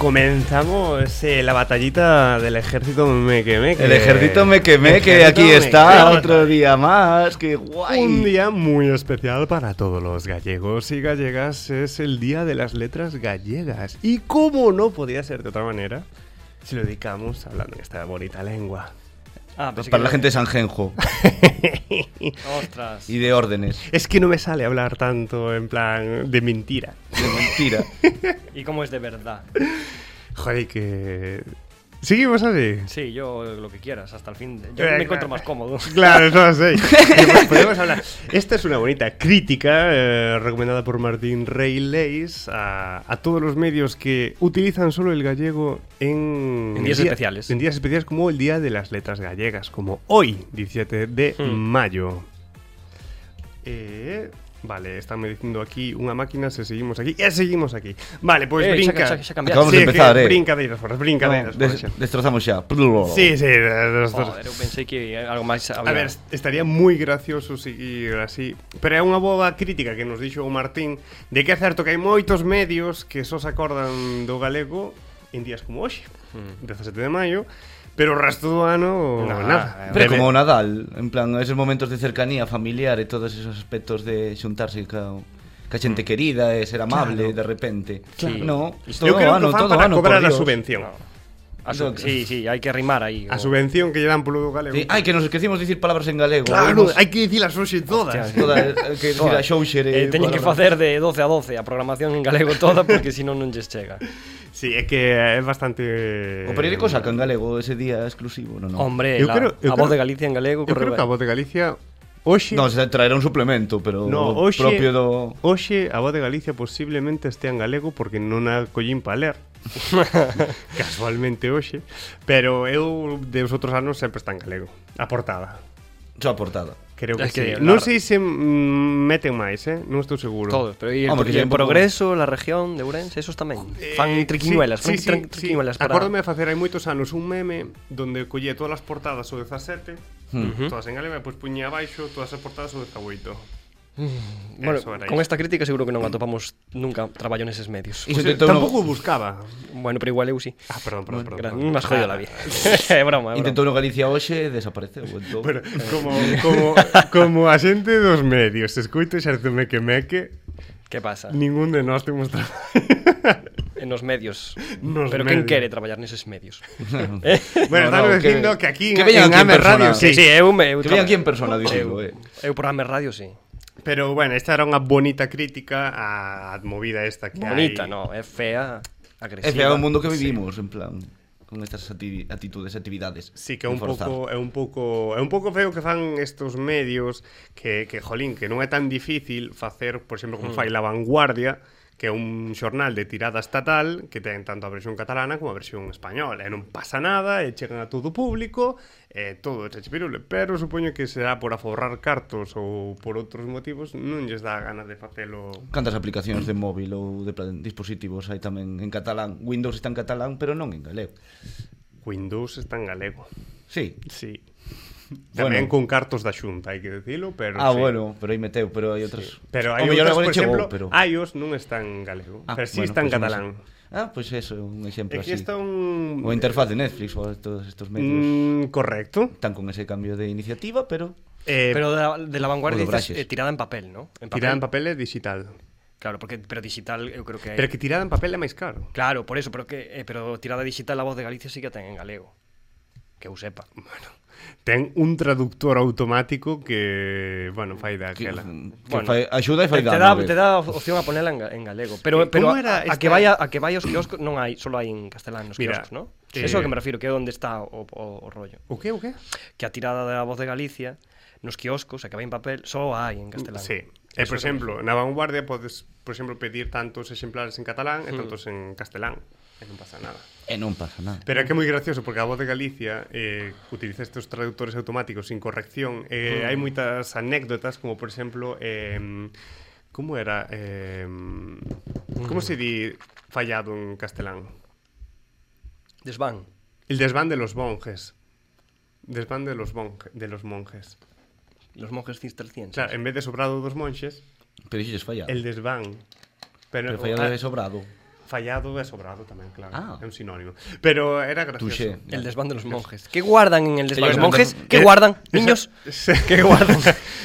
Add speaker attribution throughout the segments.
Speaker 1: Comenzamos eh, la batallita del ejército me quemé.
Speaker 2: El ejército me quemé, que aquí está otro día más. ¡Qué guay!
Speaker 1: Un día muy especial para todos los gallegos y gallegas es el Día de las Letras Gallegas. Y cómo no podía ser de otra manera si lo dedicamos hablando en esta bonita lengua.
Speaker 2: Ah, pues para la gente de Sanjenjo
Speaker 3: Ostras.
Speaker 2: y de órdenes.
Speaker 1: Es que no me sale hablar tanto en plan de mentira.
Speaker 2: De mentira.
Speaker 3: ¿Y cómo es de verdad?
Speaker 1: Joder, que... Seguimos así.
Speaker 3: Sí, yo eh, lo que quieras, hasta el fin. de- Yo
Speaker 1: Eh,
Speaker 3: me
Speaker 1: claro.
Speaker 3: encuentro más cómodo.
Speaker 1: Claro, no sé. podemos hablar. Esta es una bonita crítica eh, recomendada por Martín Rey Leis a, a todos los medios que utilizan solo el gallego en,
Speaker 3: En días
Speaker 1: día-
Speaker 3: especiales.
Speaker 1: En días especiales como el Día de las Letras Gallegas, como hoy, 17 de
Speaker 3: Hmm.
Speaker 1: mayo. Eh, vale, están diciendo aquí una máquina, se seguimos aquí, ya seguimos aquí. Vale, pues
Speaker 3: Eh, se ha-
Speaker 1: brinca.
Speaker 3: se ha- se ha cambiado.
Speaker 2: Acabamos de
Speaker 1: Sí, es que
Speaker 2: empezar, eh.
Speaker 1: Brinca de Irasforas, brinca de
Speaker 2: No,
Speaker 1: Irasforas.
Speaker 2: des- destrozamos ya.
Speaker 1: Sí, sí, de los dos.
Speaker 3: Joder, yo pensé que algo más había.
Speaker 1: A ver, estaría muy gracioso seguir así Pero é unha boa crítica que nos dixo o Martín De que é certo que hai moitos medios Que só se acordan do galego En días como hoxe 17 de maio Pero o resto do ano,
Speaker 3: Nada,
Speaker 1: nada Debe-
Speaker 2: Pero eh, como Nadal, en plan, esos momentos de cercanía familiar e todos esos aspectos de xuntarse ca, ca
Speaker 1: Mm.
Speaker 2: xente querida e ser amable de repente.
Speaker 3: Claro.
Speaker 2: No,
Speaker 1: Eu creo que o fan para
Speaker 2: por
Speaker 1: cobrar a
Speaker 2: Dios.
Speaker 1: subvención
Speaker 3: No. A su- sí, sí, hay que rimar ahí.
Speaker 1: A
Speaker 3: o-
Speaker 1: subvención que lle dan polo do galego
Speaker 2: Sí, ai, que nos esquecimos de dicir palabras en galego.
Speaker 1: Claro,
Speaker 2: Vemos
Speaker 1: hai que dicilas hoxe todas
Speaker 3: Hostia,
Speaker 2: Toda, hai que dicir a Xouxer
Speaker 3: Eh, teñen que
Speaker 2: palabras.
Speaker 3: facer de 12 a 12 a programación en galego toda porque si non non lles chega.
Speaker 1: Sí, é que é bastante... eh,
Speaker 2: O periódico saca en galego ese día exclusivo, no, no.
Speaker 3: Hombre,
Speaker 1: Eu
Speaker 3: la,
Speaker 1: creo- eu
Speaker 3: a
Speaker 1: creo-
Speaker 3: voz de Galicia en galego
Speaker 1: Eu creo
Speaker 3: correu
Speaker 1: que a
Speaker 3: ben.
Speaker 1: voz de Galicia Hoxe
Speaker 2: No, se traerá un suplemento, pero
Speaker 1: No,
Speaker 2: o
Speaker 1: hoxe,
Speaker 2: propio do
Speaker 1: hoxe a voz de Galicia posiblemente estea en galego porque non a collín pa ler. Casualmente hoxe, pero eu de os outros anos sempre está en galego, a portada.
Speaker 2: xa portada.
Speaker 1: Creo que,
Speaker 3: Es que
Speaker 1: sí.
Speaker 3: la-
Speaker 1: Non sei se mm, meten máis, eh? Non estou seguro.
Speaker 3: Todos, pero y el,
Speaker 2: Hombre, que
Speaker 3: y
Speaker 2: ya un
Speaker 3: el
Speaker 2: poco-
Speaker 3: progreso, la región de Ourense, esos tamén.
Speaker 1: Eh,
Speaker 3: fan triquiñuelas,
Speaker 1: sí,
Speaker 3: fan
Speaker 1: sí,
Speaker 3: tran-
Speaker 1: sí, sí.
Speaker 3: triquiñuelas para
Speaker 1: Acórdome de facer hai moitos anos un meme Donde collé todas as portadas o 17
Speaker 3: Hmm. Ujú.
Speaker 1: Todas en galego e pois puñía abaixo Todas as portadas o 18
Speaker 3: Bueno,
Speaker 1: Eso era
Speaker 3: con
Speaker 1: iso.
Speaker 3: esta crítica seguro que non atopamos nunca traballo neses medios.
Speaker 1: Pois,
Speaker 2: Iso tentou no-
Speaker 1: Tampouco buscaba
Speaker 3: Bueno, pero igual eu si.
Speaker 1: Ah, perdón, perdón, perdón,
Speaker 3: Gran-
Speaker 1: perdón.
Speaker 3: Me has jodido la vida.
Speaker 1: Ah,
Speaker 3: É broma, é broma.
Speaker 2: Intentou no Galicia hoxe e desapareceu. Entón,
Speaker 1: Bueno, como, como, como a xente dos medios Escoito xerto meque meque
Speaker 3: Que pasa?
Speaker 1: Ningún de nós temos tra...
Speaker 3: En os medios.
Speaker 1: Nos
Speaker 3: pero quen
Speaker 1: medios.
Speaker 3: quere traballar neses medios? ¿Eh?
Speaker 1: Bueno,
Speaker 2: No,
Speaker 1: estamos
Speaker 2: no, que-
Speaker 1: dicindo que, aquí
Speaker 2: que
Speaker 1: en,
Speaker 2: veñan
Speaker 1: en
Speaker 2: aquí en
Speaker 1: AME Radio
Speaker 2: persona.
Speaker 1: sí.
Speaker 3: sí, eu me... Eu
Speaker 2: que veña aquí en
Speaker 3: traba-
Speaker 2: persona, dixo, eh.
Speaker 3: Eu, eu programa en radio, sí.
Speaker 1: Pero bueno, esta era unha bonita crítica á movida esta que hai.
Speaker 3: Bonita, no, é fea, agresiva.
Speaker 2: É feo o mundo que vivimos, en plan, con estas ati- actitudes, actividades.
Speaker 1: Sí, que é un
Speaker 2: de forzar.
Speaker 1: pouco é un pouco é un pouco feo que fan estos medios que que jolín, que non é tan difícil facer, por exemplo, como
Speaker 2: Mm.
Speaker 1: fai La Vanguardia, que é un xornal de tirada estatal que ten tanto a versión catalana como a versión española. E non pasa nada, e chegan a todo o público, e todo é chachipirule. Pero supoño que será por aforrar cartos ou por outros motivos non lles dá gana de facelo
Speaker 2: Cantas aplicacións de móvil ou de plan- dispositivos hai tamén en catalán. Windows está en catalán, pero non en galego.
Speaker 1: Windows está en galego.
Speaker 2: Sí.
Speaker 1: Sí.
Speaker 2: Bueno.
Speaker 1: Tamén con cartos da xunta, hai que decirlo, pero
Speaker 2: ah,
Speaker 1: sí.
Speaker 2: bueno, pero aí meteu, pero hai outras.
Speaker 1: Pero
Speaker 2: O
Speaker 1: hai
Speaker 2: mellor
Speaker 1: outras,
Speaker 2: agora
Speaker 1: por
Speaker 2: chegou,
Speaker 1: exemplo,
Speaker 2: pero-
Speaker 1: iOS non está en galego,
Speaker 2: Ah,
Speaker 1: pero sí
Speaker 2: bueno,
Speaker 1: está en
Speaker 2: pois non
Speaker 1: catalán.
Speaker 2: sei. Ah, pois pues eso, un exemplo
Speaker 1: Aquí
Speaker 2: así.
Speaker 1: está un...
Speaker 2: O interfaz de Netflix ou todos estos
Speaker 1: Mm,
Speaker 2: medios
Speaker 1: correcto.
Speaker 2: están con ese cambio de iniciativa, pero
Speaker 1: Eh,
Speaker 3: Pero de la, de la
Speaker 2: O de
Speaker 3: vanguardia
Speaker 2: Braxes.
Speaker 3: dices, eh, tirada en papel, ¿no? En
Speaker 1: tirada en papel é digital.
Speaker 3: Claro, porque pero digital eu creo que
Speaker 2: Eh.
Speaker 1: Pero que tirada en papel é máis caro.
Speaker 3: Claro, por eso, pero que eh, pero tirada digital a voz de Galicia sí que a ten en galego. Que eu sepa.
Speaker 1: Ten un traductor automático que, bueno, fai daquela.
Speaker 2: que
Speaker 3: Bueno.
Speaker 2: fai, axuda e fai
Speaker 3: te, te
Speaker 2: dano.
Speaker 3: dá
Speaker 2: a ver.
Speaker 3: te dá opción a ponerla en, ga- en galego, pero
Speaker 1: Eh,
Speaker 3: pero
Speaker 1: como
Speaker 3: a,
Speaker 1: era
Speaker 3: a
Speaker 1: esta-
Speaker 3: que vaya a que vaya os kioscos non hai, solo hai en castelán os
Speaker 1: Mira,
Speaker 3: kioscos, ¿no?
Speaker 1: eh,
Speaker 3: Eso é o que me refiero, que é onde está o, o, o rollo.
Speaker 1: O que, o que?
Speaker 3: Que a tirada da voz de Galicia nos kioscos, a que vai en papel, só hai en castelán.
Speaker 1: Sí. E, por
Speaker 3: Eso é o que me
Speaker 1: exemplo, na vanguardia podes, por exemplo, pedir tantos exemplares en catalán e tantos en castelán. e non pasa nada.
Speaker 2: E non pasa nada.
Speaker 1: Pero é que é moi gracioso porque a voz de Galicia eh, utiliza estes traductores automáticos sin corrección. Eh, mm. Hai moitas anécdotas como, por exemplo, eh, como era... Eh, como se di fallado en castelán?
Speaker 3: Desván.
Speaker 1: El desván de los monjes. Desván de los, monje, de los monjes.
Speaker 3: Los monjes cistercienses.
Speaker 1: Claro, en vez de sobrado dos monxes,
Speaker 2: Pero iso es fallado.
Speaker 1: el Ah. desván. Pero,
Speaker 2: Pero fallado é sobrado.
Speaker 1: fallado e sobrado tamén, claro.
Speaker 2: Ah.
Speaker 1: É un sinónimo. Pero era gracioso.
Speaker 2: Touché.
Speaker 3: El desván de los monjes. ¿Qué guardan en el desván
Speaker 2: ellos
Speaker 3: de los monjes?
Speaker 2: mandan-
Speaker 3: ¿Qué guardan, niños?
Speaker 1: que guardan.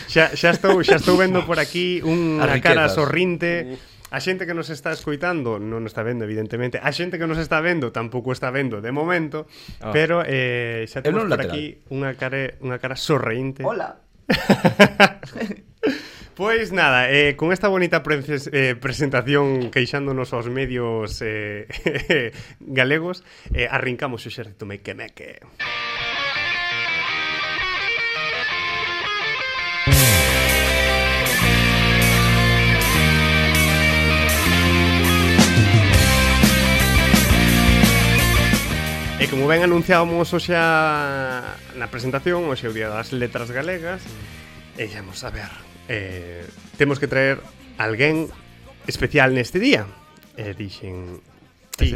Speaker 1: xa, xa estou, xa estou vendo por aquí unha
Speaker 2: As
Speaker 1: cara
Speaker 2: riquezas.
Speaker 1: sorrinte. A xente que nos está escoitando non está vendo, evidentemente. A xente que nos está vendo tampouco está vendo de momento,
Speaker 3: Ah.
Speaker 1: pero eh, xa
Speaker 2: Eu
Speaker 1: temos
Speaker 2: non
Speaker 1: por
Speaker 2: lateral.
Speaker 1: aquí unha cara unha cara sorreinte.
Speaker 2: Hola.
Speaker 1: Pois nada, eh, con esta bonita preces- eh, presentación queixándonos aos medios eh, galegos, eh, arrincamos o xerrito mequemeque. E como ben anunciábamos o xa na presentación, hoxe é o Día das Letras Galegas, E vamos a ver. Eh, temos que traer alguén especial neste día. E eh, dixen...
Speaker 3: Ti,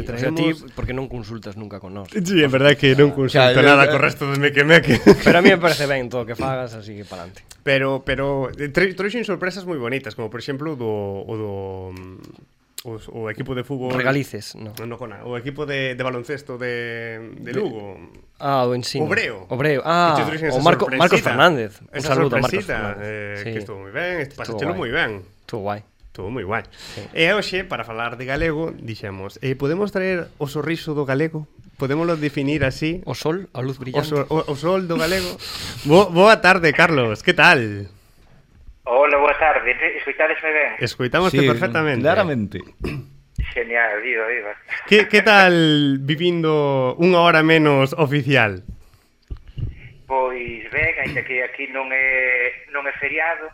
Speaker 1: "Se
Speaker 3: o sea, ti, porque non consultas nunca con nós.
Speaker 1: Sí, é verdade que non consulto
Speaker 2: Xa,
Speaker 1: nada
Speaker 2: xa.
Speaker 3: eh,
Speaker 1: co resto de meque meque.
Speaker 3: Pero a mí me parece ben todo o que fagas, así que pa'lante.
Speaker 1: Pero, pero eh, tre- trouxen sorpresas moi bonitas, como por exemplo do, o do mm, o, o equipo de fútbol
Speaker 3: Regalices, no.
Speaker 1: No, no, cona, o equipo de, de baloncesto de, de Lugo.
Speaker 3: Ah, o ensino.
Speaker 1: Obreo.
Speaker 3: Obreo.
Speaker 1: Que
Speaker 3: Ah,
Speaker 1: te trouxen
Speaker 3: o
Speaker 1: esa
Speaker 3: Marco,
Speaker 1: sorpresita.
Speaker 3: Marcos Fernández. Un
Speaker 1: Esa
Speaker 3: saludo a Marcos
Speaker 1: sorpresita,
Speaker 3: Fernández.
Speaker 1: Eh,
Speaker 3: Sí.
Speaker 1: Que estuvo moi ben, pasáchelo
Speaker 3: guai.
Speaker 1: moi ben.
Speaker 3: Estuvo guai.
Speaker 1: Todo moi guai. E hoxe, Eh, para falar de galego, dixemos, eh, podemos traer o sorriso do galego? Podémoslo definir así?
Speaker 3: O sol, a luz
Speaker 1: O,
Speaker 3: brillante.
Speaker 1: so, o, o sol do galego? Bo, boa tarde, Carlos, que tal?
Speaker 4: Hola, boa tarde. Escoitadesme ben?
Speaker 1: Escoitamos sí, perfectamente.
Speaker 2: Claramente.
Speaker 4: Genial, viva, viva.
Speaker 1: Que, que tal vivindo unha hora menos oficial?
Speaker 4: Pois ben, ainda que aquí non é non é feriado.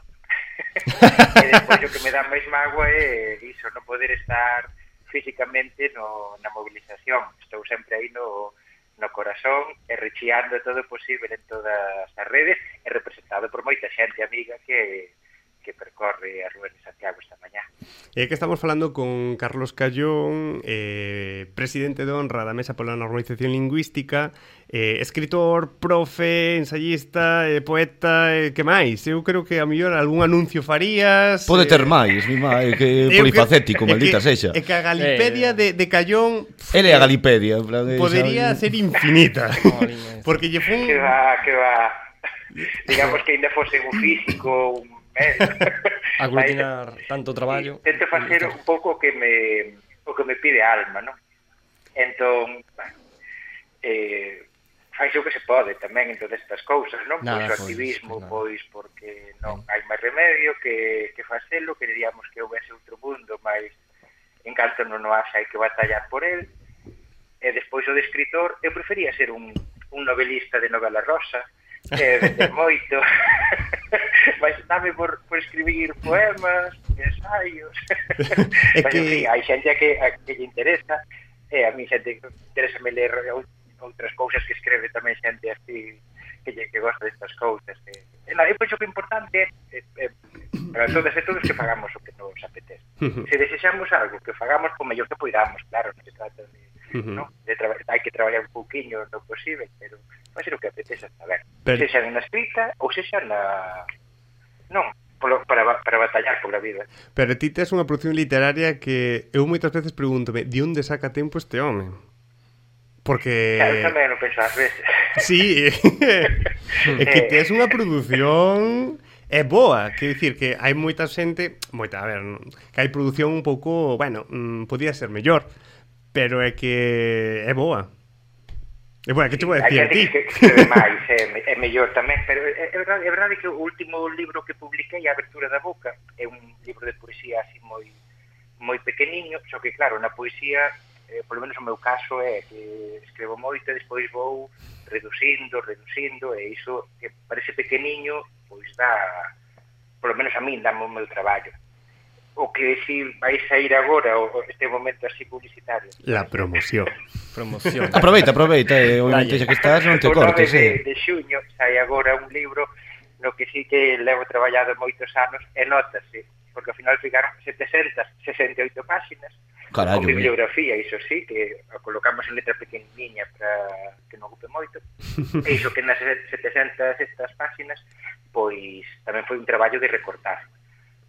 Speaker 4: e despois o que me dá máis mágoa é iso, non poder estar físicamente no, na movilización. Estou sempre aí no, no corazón e recheando todo o posible en todas as redes e representado por moita xente amiga que que percorre a Rúa de Santiago esta mañá.
Speaker 1: E Eh, que estamos falando con Carlos Callón, eh, presidente de honra da Mesa pola Normalización Lingüística, eh, escritor, profe, ensayista, eh, poeta, eh, que máis? Eu creo que a mellor algún anuncio farías...
Speaker 2: Pode ter
Speaker 1: eh,
Speaker 2: máis, mi má, é que é
Speaker 1: eu que-
Speaker 2: polifacético,
Speaker 1: é
Speaker 2: maldita
Speaker 1: que-
Speaker 2: sexa.
Speaker 1: É que a Galipedia de,
Speaker 3: Eh.
Speaker 1: de Callón pff,
Speaker 2: Ele é a Galipedia, en plan, é,
Speaker 1: podería
Speaker 2: sabe?
Speaker 1: ser infinita.
Speaker 3: Jolín,
Speaker 1: Porque lle fun...
Speaker 4: Que va, que va. Digamos que ainda fose un físico, un médico.
Speaker 3: Aglutinar tanto traballo.
Speaker 4: Tento facer un pouco o que me o que me pide a alma, non? Entón, bueno, eh, faise o que se pode tamén en todas estas cousas, non?
Speaker 3: Nada,
Speaker 4: pois o
Speaker 3: pois,
Speaker 4: activismo,
Speaker 3: nada.
Speaker 4: pois porque non hai máis remedio que, que facelo, queríamos que houvese outro mundo, mas en canto non o haxa hai que batallar por el. E despois o de escritor, eu prefería ser un, un novelista de novela rosa, eh, vender moito, mas dame por, por escribir poemas, ensaios,
Speaker 1: É
Speaker 4: é que...
Speaker 1: que-
Speaker 4: en fin, hai xente a que, a que lle interesa, e a mí xente que interesa me ler ou- outras cousas que escreve tamén xente así que lle que gosta destas cousas. E, e nada, eu penso que o importante é, é, para todas e todos que fagamos o que nos apetece. Se desexamos algo, que fagamos o mellor que poidamos, claro, non se trata de,
Speaker 1: Ujú.
Speaker 4: no, de traba- hai que traballar un pouquiño no posible, pero vai ser o que apetece hasta ver.
Speaker 1: Pero-
Speaker 4: Pero... Sexa na escrita ou sexa na... Non, polo, para, ba- para batallar pola vida.
Speaker 1: Pero ti tes unha produción literaria que eu moitas veces pregúntome, de onde saca tempo este home? Porque...
Speaker 4: Claro, tamén o penso ás veces.
Speaker 1: Sí, é que tes unha produción é boa, quero dicir que hai moita xente, moita, a ver, non- que hai produción un pouco, bueno, mm, podía ser mellor, pero é que é boa. É boa, que te vou
Speaker 4: Hai
Speaker 1: decir a
Speaker 4: xente
Speaker 1: ti?
Speaker 4: que escribe máis, é, é mellor tamén, pero é, é, verdade, é verdade que o último libro que publiquei, A abertura da boca, é un libro de poesía así moi moi pequeniño, só que claro, na poesía, eh, polo menos o meu caso é que escrevo moito e despois vou reducindo, reducindo, e iso que parece pequeniño, pois dá, polo menos a min, dá o meu traballo. o que si vais a ir agora o este momento así publicitario.
Speaker 1: La promoción.
Speaker 3: Promoción.
Speaker 2: Aproveita, aproveita, eh, obviamente
Speaker 3: Dalle.
Speaker 2: xa que estás non te
Speaker 4: o
Speaker 2: cortes,
Speaker 4: nove
Speaker 2: eh.
Speaker 4: de, de xuño sai agora un libro no que sí que levo traballado moitos anos e notase, porque ao final ficaron 768 páxinas
Speaker 2: Carallo,
Speaker 4: con
Speaker 2: eh.
Speaker 4: bibliografía, iso sí, que a colocamos en letra pequeniña para que non ocupe moito. E iso que nas 700 estas páxinas, pois tamén foi un traballo de recortar.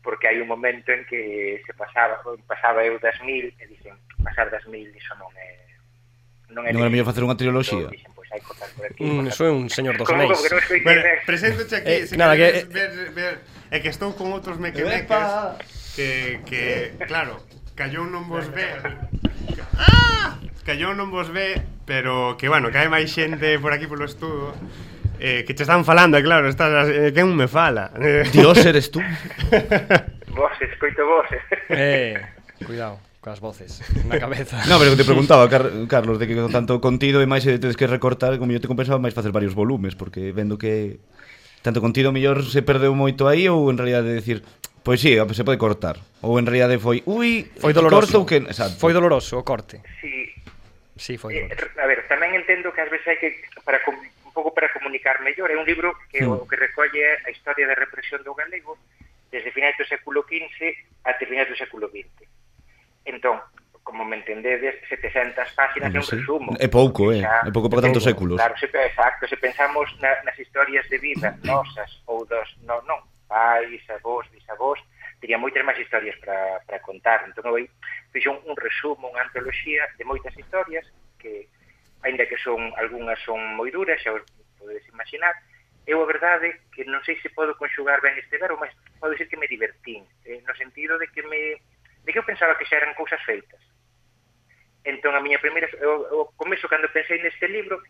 Speaker 4: Porque hai un momento en que se pasaba, pasaba eu das mil e dicen, pasar das mil, iso non é...
Speaker 2: Non era
Speaker 4: legible.
Speaker 2: mellor facer unha triloxía?
Speaker 4: Dicen, pois hai que cortar por aquí.
Speaker 3: Mm,
Speaker 4: cortar
Speaker 3: Soy un señor dos
Speaker 4: Como, como
Speaker 3: anéis.
Speaker 4: que non escoitei
Speaker 1: Bueno,
Speaker 4: res.
Speaker 1: preséntoche aquí.
Speaker 3: Eh,
Speaker 1: si
Speaker 3: nada,
Speaker 1: queres
Speaker 3: que-
Speaker 1: ver, ver, é que estou con outros mequemeques
Speaker 2: Epa.
Speaker 1: que, que, claro, callou non vos ve. ¡Ah! Callou non vos ve, pero que, bueno, cae máis xente por aquí polo estudo. Eh, que te están falando, e claro, estás, eh, que un me fala. Eh,
Speaker 2: Dios eres tú.
Speaker 4: Vos, escoito vos.
Speaker 3: Eh, cuidado, con las voces na cabeza.
Speaker 2: No, pero que te preguntaba, Car Carlos, de que con tanto contido e máis eh, tedes que recortar, como yo te compensaba máis facer varios volumes, porque vendo que tanto contido mellor se perdeu moito aí ou en realidad de decir, pois sí, se pode cortar. Ou en realidad foi, ui,
Speaker 3: Foi doloroso.
Speaker 2: corto que... Exacto.
Speaker 3: Foi doloroso o corte.
Speaker 4: Si,
Speaker 3: Sí, foi
Speaker 4: eh,
Speaker 3: doloroso.
Speaker 4: a ver, tamén entendo que ás veces hai que para com- un pouco para comunicar mellor, é un libro que
Speaker 2: Mm.
Speaker 4: o que recolle a historia da represión do galego desde finais do século XV até finais do século XX. Entón, como me entendedes, 700 páxinas
Speaker 2: Bueno,
Speaker 4: é un
Speaker 2: sí.
Speaker 4: resumo.
Speaker 2: É pouco, eh.
Speaker 4: Porque xa-
Speaker 2: É pouco para tantos
Speaker 4: Pouco,
Speaker 2: séculos.
Speaker 4: Claro, se, exacto, se pensamos na, nas historias de vida nosas ou dos, non, non, pais, avós, bisavós, tería moitas máis historias para, para contar. Entón, eu aí fixo un, un resumo, unha antoloxía de moitas historias que, aínda que son algunhas son moi duras, xa os podedes imaginar, eu a verdade que non sei se podo conxugar ben este verbo, mas podo dicir que me divertín, eh, no sentido de que me de que eu pensaba que xa eran cousas feitas. Entón a miña primeira eu, eu comezo cando pensei neste libro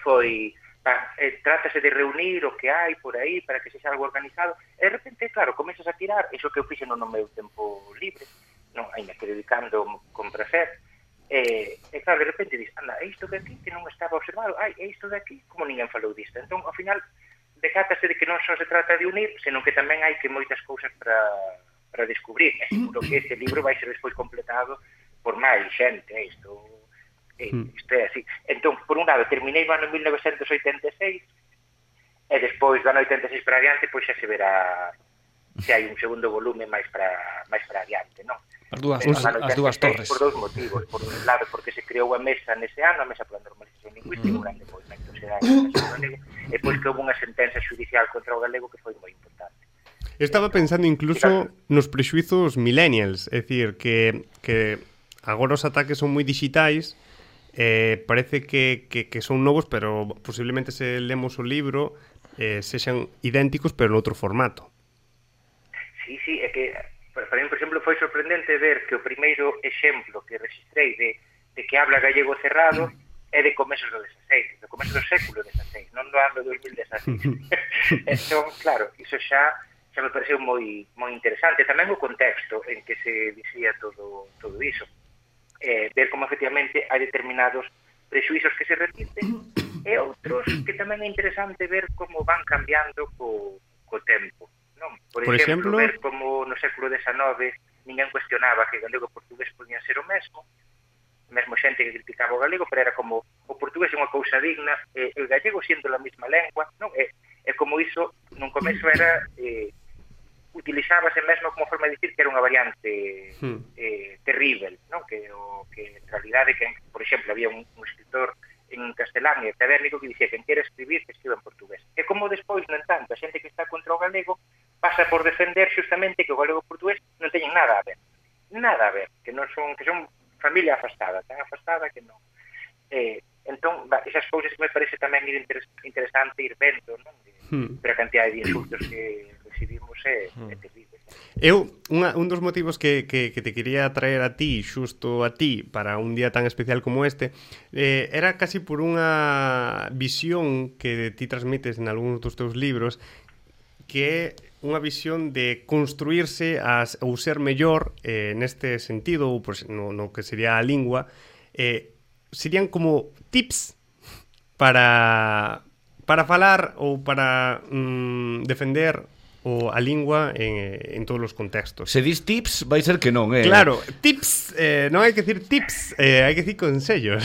Speaker 4: foi pa, eh, trátase de reunir o que hai por aí para que sexa algo organizado e de repente, claro, comezas a tirar iso que eu fixen no meu tempo libre non, ainda que dedicando con placer e, e claro, de repente dis, anda, é isto de aquí que non estaba observado ai, é isto de aquí, como ninguén falou disto entón, ao final, decátase de que non só se trata de unir, senón que tamén hai que moitas cousas para, para descubrir e seguro que este libro vai ser despois completado por máis xente eh, isto Eh, isto é así. Entón, por un lado, terminei o ano 1986 e despois do ano 86 para adiante, pois xa se verá se hai un segundo volume máis para máis para adiante, non?
Speaker 3: As dúas,
Speaker 4: Pero
Speaker 3: as,
Speaker 4: o ano
Speaker 3: as dúas
Speaker 4: 86
Speaker 3: torres.
Speaker 4: Por dous motivos. Por un lado, porque se creou a mesa nese ano, a mesa para a normalización lingüística, un grande movimento social galego, e pois que houve unha sentenza judicial contra o galego que foi moi importante.
Speaker 1: Eu estaba pensando incluso nos prexuizos millennials, é dicir, que, que agora os ataques son moi digitais, eh, parece que, que, que son novos, pero posiblemente se lemos o libro eh, sexan idénticos, pero noutro formato.
Speaker 4: Sí, sí, é que para para mí, por exemplo, foi sorprendente ver que o primeiro exemplo que registrei de, de que habla gallego cerrado é de comezos do 16, do comezo do século 16, non do ano 2016. entón, claro, iso xa xa me pareceu moi moi interesante, tamén o contexto en que se dicía todo todo iso. Eh, ver como efectivamente hai determinados prexuizos que se repiten e outros que tamén é interesante ver como van cambiando co, co tempo. Non? Por,
Speaker 1: Por
Speaker 4: exemplo,
Speaker 1: exemplo?
Speaker 4: ver como no século XIX ninguén cuestionaba que galego e portugués podían ser o mesmo, mesmo xente que criticaba o galego, pero era como o portugués é unha cousa digna, e o gallego sendo a mesma lengua, non? E, e como iso nun comezo era eh, utilizábase mesmo como forma de dicir que era unha variante
Speaker 1: Hmm.
Speaker 4: eh, terrível, non? Que o que en realidade que por exemplo había un, un escritor en castelán e académico que dicía que en quere escribir que escriba en portugués. E como despois, no entanto, a xente que está contra o galego pasa por defender justamente que o galego e o portugués non teñen nada a ver. Nada a ver, que non son que son familia afastada, tan afastada que non eh, entón, va, esas cousas que me parece tamén ir interes, interesante ir vendo, non? De,
Speaker 1: Hmm.
Speaker 4: Pero a cantidad de insultos que recibimos é, é terrible.
Speaker 1: Eu, unha, un dos motivos que, que, que te quería traer a ti, xusto a ti, para un día tan especial como este, eh, era casi por unha visión que ti transmites en algúns dos teus libros, que é unha visión de construirse as, ou ser mellor eh, neste sentido, ou pois, no, no que sería a lingua, eh, serían como tips para para falar ou para mm, defender o a lingua en, eh, en todos os contextos.
Speaker 2: Se dis tips, vai ser que non, eh?
Speaker 1: Claro, tips, eh, non hai que decir tips, eh, hai que decir consellos.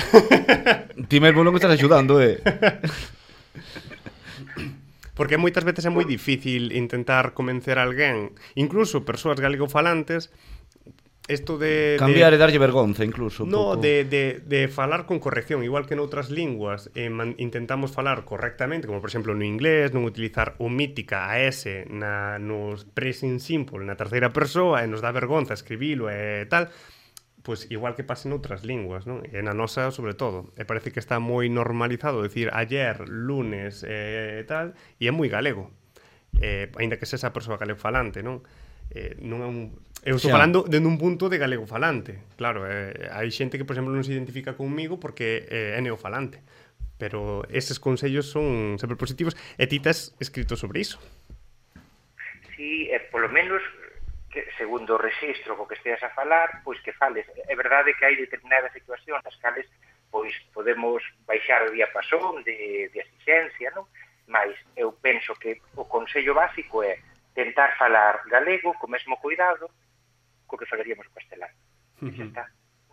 Speaker 2: Ti mesmo non estás axudando, eh?
Speaker 1: Porque moitas veces é moi difícil intentar convencer a alguén, incluso persoas galegofalantes, isto de...
Speaker 2: Cambiar e
Speaker 1: de...
Speaker 2: darlle vergonza, incluso. un
Speaker 1: No,
Speaker 2: pouco.
Speaker 1: de, de, de falar con corrección, igual que noutras linguas eh, man, intentamos falar correctamente, como por exemplo no inglés, non utilizar o mítica a S na, nos present simple, na terceira persoa, e nos dá vergonza escribilo e tal, pois igual que pasa noutras linguas, non? E na nosa, sobre todo. E parece que está moi normalizado decir ayer, lunes e tal, e é moi galego. Eh, ainda que sexa a persoa galegofalante, non? Eh, non é un Eu estou
Speaker 2: Xa.
Speaker 1: falando dende un punto de galego falante. Claro, eh, hai xente que, por exemplo, non se identifica comigo porque eh, é neofalante. Pero eses consellos son sempre positivos. E ti tes escrito sobre iso.
Speaker 4: si eh, polo menos que segundo o registro co que esteas a falar, pois que fales. É verdade que hai determinadas situacións nas cales pois podemos baixar o diapasón de, de asixencia, non? Mas eu penso que o consello básico é tentar falar galego co mesmo cuidado co que falaríamos o castelán. E xa está.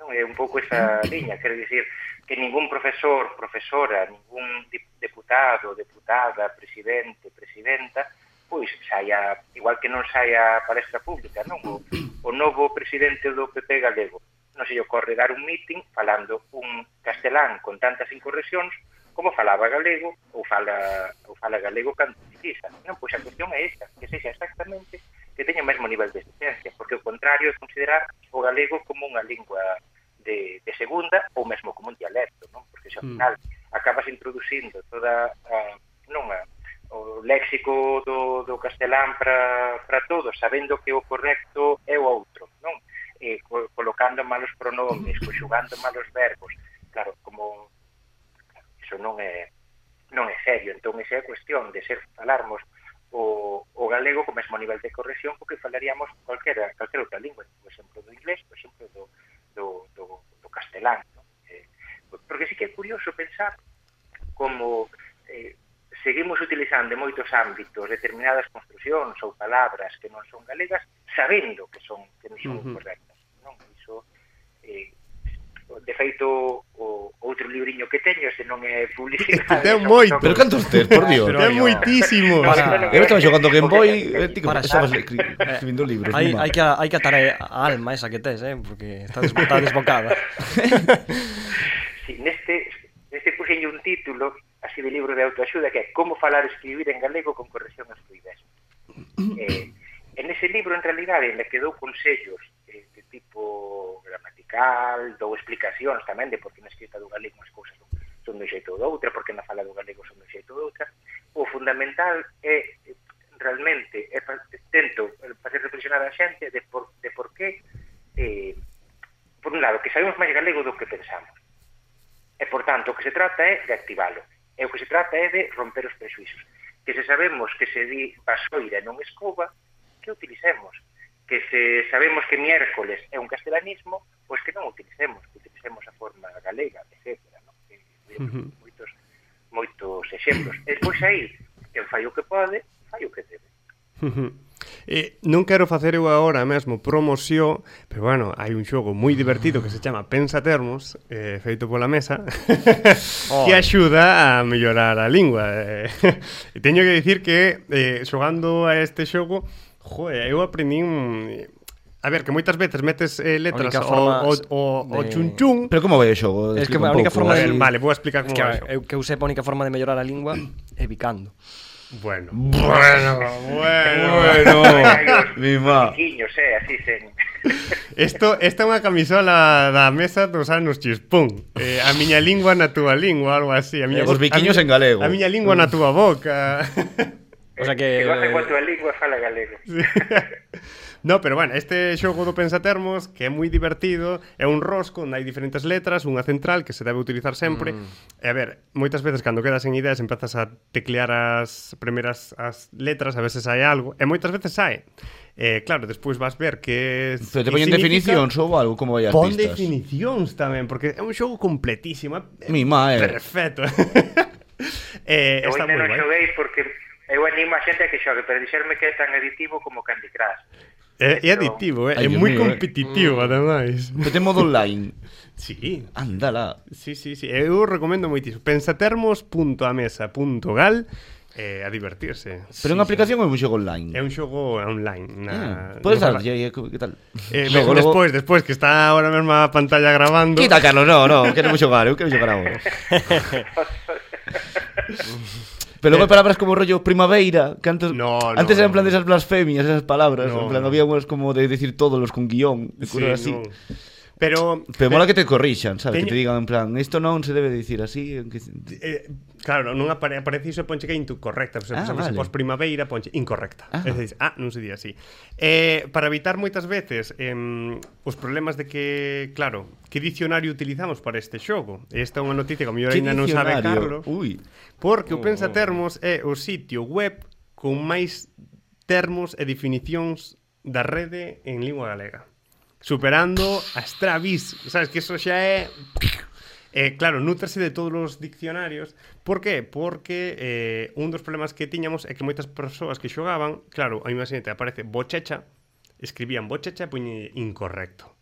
Speaker 4: Non é un pouco esa liña, quero dicir que ningún profesor, profesora, ningún dip- deputado, deputada, presidente, presidenta, pois saia, igual que non saia a palestra pública, non? O, o novo presidente do PP galego non se lle ocorre dar un meeting falando un castelán con tantas incorreccións como falaba galego ou fala, ou fala galego cando quisa. Non, pois a cuestión é esta, que sexa exactamente que teña o mesmo nivel de exigencia, porque o contrario é considerar o galego como unha lingua de, de segunda ou mesmo como un dialecto, non? Porque se ao final acabas introducindo toda a, non a, o léxico do, do castelán para para todos, sabendo que o correcto é o outro, non? Eh, co, colocando malos pronomes, conxugando malos verbos. Claro, como iso non é non é serio, entón esa é a cuestión de ser falarmos o, o galego co mesmo nivel de corrección co que falaríamos calquera, calquera outra lingua, por exemplo do inglés, por exemplo do, do, do, do castelán. Non? Eh, porque sí que é curioso pensar como eh, seguimos utilizando en moitos ámbitos determinadas construcións ou palabras que non son galegas sabendo que son que non son
Speaker 1: Ujú.
Speaker 4: correctas. Non? Iso eh, de feito o outro libriño que teño, se non é publicidade.
Speaker 1: Ten
Speaker 4: son-
Speaker 1: moito.
Speaker 4: son-
Speaker 2: Pero cantos tes, por Dios?
Speaker 3: Pero
Speaker 1: Pero é
Speaker 3: yo-
Speaker 1: moitísimo.
Speaker 3: Para-
Speaker 2: Eu
Speaker 3: eh,
Speaker 2: estaba xogando Game Boy,
Speaker 4: Porque-
Speaker 2: e ti que
Speaker 3: Para
Speaker 2: estabas
Speaker 3: xa.
Speaker 2: escri- escribindo libros.
Speaker 3: Hai,
Speaker 2: non
Speaker 3: hai, que, hai que atar a a alma esa que tes, eh? porque está, des, está desbocada.
Speaker 4: Sí, neste, neste puxenlle un título así de libro de autoaxuda que é Como falar e escribir en galego con corrección e fluidez. Eh, en ese libro, en realidade, me quedou consellos eh, de tipo gramatical, dou explicacións tamén de por que na escrita do galego as cousas son, son do xeito ou do outra, por que na fala do galego son do xeito ou do outra. O fundamental é eh, realmente é fa- tento eh, facer reflexionar a xente de por, de por que eh, por un lado, que sabemos máis galego do que pensamos. E, por tanto, o que se trata é de activalo. E o que se trata é de romper os prexuizos. Que se sabemos que se di vasoira e non escoba, que o utilicemos. Que se sabemos que miércoles é un castelanismo, pois que non o utilicemos, que utilicemos a forma galega, etc. Non? Que, que,
Speaker 1: Ujú.
Speaker 4: moitos, moitos exemplos. E despois aí, quen fai o que pode, fai o que debe.
Speaker 1: Eh, non quero facer eu agora mesmo promoción, pero bueno, hai un xogo moi divertido que se chama Pensa Termos, eh, feito pola mesa, que
Speaker 3: Oh.
Speaker 1: axuda a mellorar a lingua. Eh, E teño que dicir que eh, xogando a este xogo, joder, eu aprendín un... A ver, que moitas veces metes eh, letras
Speaker 3: única
Speaker 1: o,
Speaker 3: forma
Speaker 1: o, o, o
Speaker 3: de-
Speaker 1: chun chun...
Speaker 2: Pero como vai o xogo?
Speaker 3: Es que
Speaker 2: Explica
Speaker 3: a
Speaker 2: un eh.
Speaker 3: única
Speaker 2: pouco.
Speaker 1: A
Speaker 3: forma
Speaker 1: ver,
Speaker 3: de-
Speaker 1: vale, vou explicar
Speaker 3: Es
Speaker 1: como
Speaker 3: que,
Speaker 1: vai o
Speaker 3: a- eh,
Speaker 1: xogo.
Speaker 3: eu que eu sepa a única forma de mellorar a lingua é picando.
Speaker 1: Bueno, bueno, bueno...
Speaker 2: Bueno,
Speaker 4: Ai, os
Speaker 2: mi
Speaker 3: Ah.
Speaker 2: má.
Speaker 4: Chiquiños, eh, así sen...
Speaker 1: Esto, esta é unha camisola da mesa dos anos chispún eh, A miña lingua na túa lingua, algo así a miña,
Speaker 2: Eh, os
Speaker 1: bo-
Speaker 2: biquiños
Speaker 1: a
Speaker 2: en galego.
Speaker 1: A miña lingua na túa boca
Speaker 3: O sea que... eh,
Speaker 4: Que goza coa tua lingua e fala galego.
Speaker 1: No, pero bueno, este xogo do Pensatermos Que é moi divertido É un rosco onde hai diferentes letras Unha central que se debe utilizar sempre
Speaker 2: Mm.
Speaker 1: E a ver, moitas veces cando quedas en ideas Empezas a teclear as primeiras as letras A veces hai algo E moitas veces hai Eh, claro, despois vas ver que...
Speaker 2: Pero te
Speaker 1: que
Speaker 2: poñen
Speaker 1: significa-
Speaker 2: definicións ou algo, como vai
Speaker 1: Pon
Speaker 2: artistas?
Speaker 1: definicións tamén, porque é un xogo completísimo. é- é
Speaker 2: Mi má, eh.
Speaker 1: Perfecto. eh,
Speaker 4: Eu
Speaker 1: está Eh, moi
Speaker 4: ainda non
Speaker 1: guai.
Speaker 4: xoguei porque eu animo a xente a que xogue, pero dixerme que é tan aditivo como Candy Crush.
Speaker 1: É, é adictivo, é, é
Speaker 2: Ai, Dios
Speaker 1: moi
Speaker 2: mío, eh.
Speaker 1: competitivo, ademais.
Speaker 2: Pero ten modo online.
Speaker 1: Sí,
Speaker 2: Andala.
Speaker 1: sí, sí, Eh, sí. Eu recomendo moitísimo. Pensatermos.amesa.gal eh, a divertirse.
Speaker 2: Pero é unha aplicación ou é un xogo online?
Speaker 1: É un xogo online. Na...
Speaker 2: Ah, Podes
Speaker 1: no-
Speaker 2: dar, e aí, que tal?
Speaker 1: Eh,
Speaker 2: Logo,
Speaker 1: logo,
Speaker 2: logo-
Speaker 1: despois, despois, que está ahora mesmo a pantalla grabando.
Speaker 2: Quita, Carlos, no, no, queremos xogar, eu quero xogar agora. Pero logo hai palabras como rollo primaveira, que antes,
Speaker 1: No, no,
Speaker 2: antes eran en plan
Speaker 1: no.
Speaker 2: de esas blasfemias, esas palabras,
Speaker 1: No,
Speaker 2: en plan
Speaker 1: no.
Speaker 2: había unas como de decir todos los con guión, de
Speaker 1: Sí,
Speaker 2: cosas así.
Speaker 1: no. Pero,
Speaker 2: Pero mola que te corrixan, sabes?
Speaker 1: Teño-
Speaker 2: Que te digan en plan, esto non se debe dicir así, en que
Speaker 1: Eh, claro, non apare aparece iso e ponche que é incorrecta. Por exemplo,
Speaker 2: Ah,
Speaker 1: ah, vale.
Speaker 2: vale.
Speaker 1: pos primavera ponche incorrecta. Ah.
Speaker 2: Ah.
Speaker 1: Es dices, ah, non se di así. Eh, para evitar moitas veces em, os problemas de que, claro, que dicionario utilizamos para este xogo? E Esta é unha noticia que a mellor
Speaker 2: Que
Speaker 1: ainda non sabe
Speaker 2: dicionario? Uh. Oh.
Speaker 1: Carlos.
Speaker 2: Ui,
Speaker 1: Porque o Pensatermos é o sitio web con máis termos e definicións da rede en lingua galega. Superando a Stravis. Sabes que eso xa é... Eh, claro, nutrese de todos os diccionarios. Por qué? Porque eh, un dos problemas que tiñamos é que moitas persoas que xogaban, claro, a imagínate, aparece bochecha, escribían bochecha e poñe incorrecto.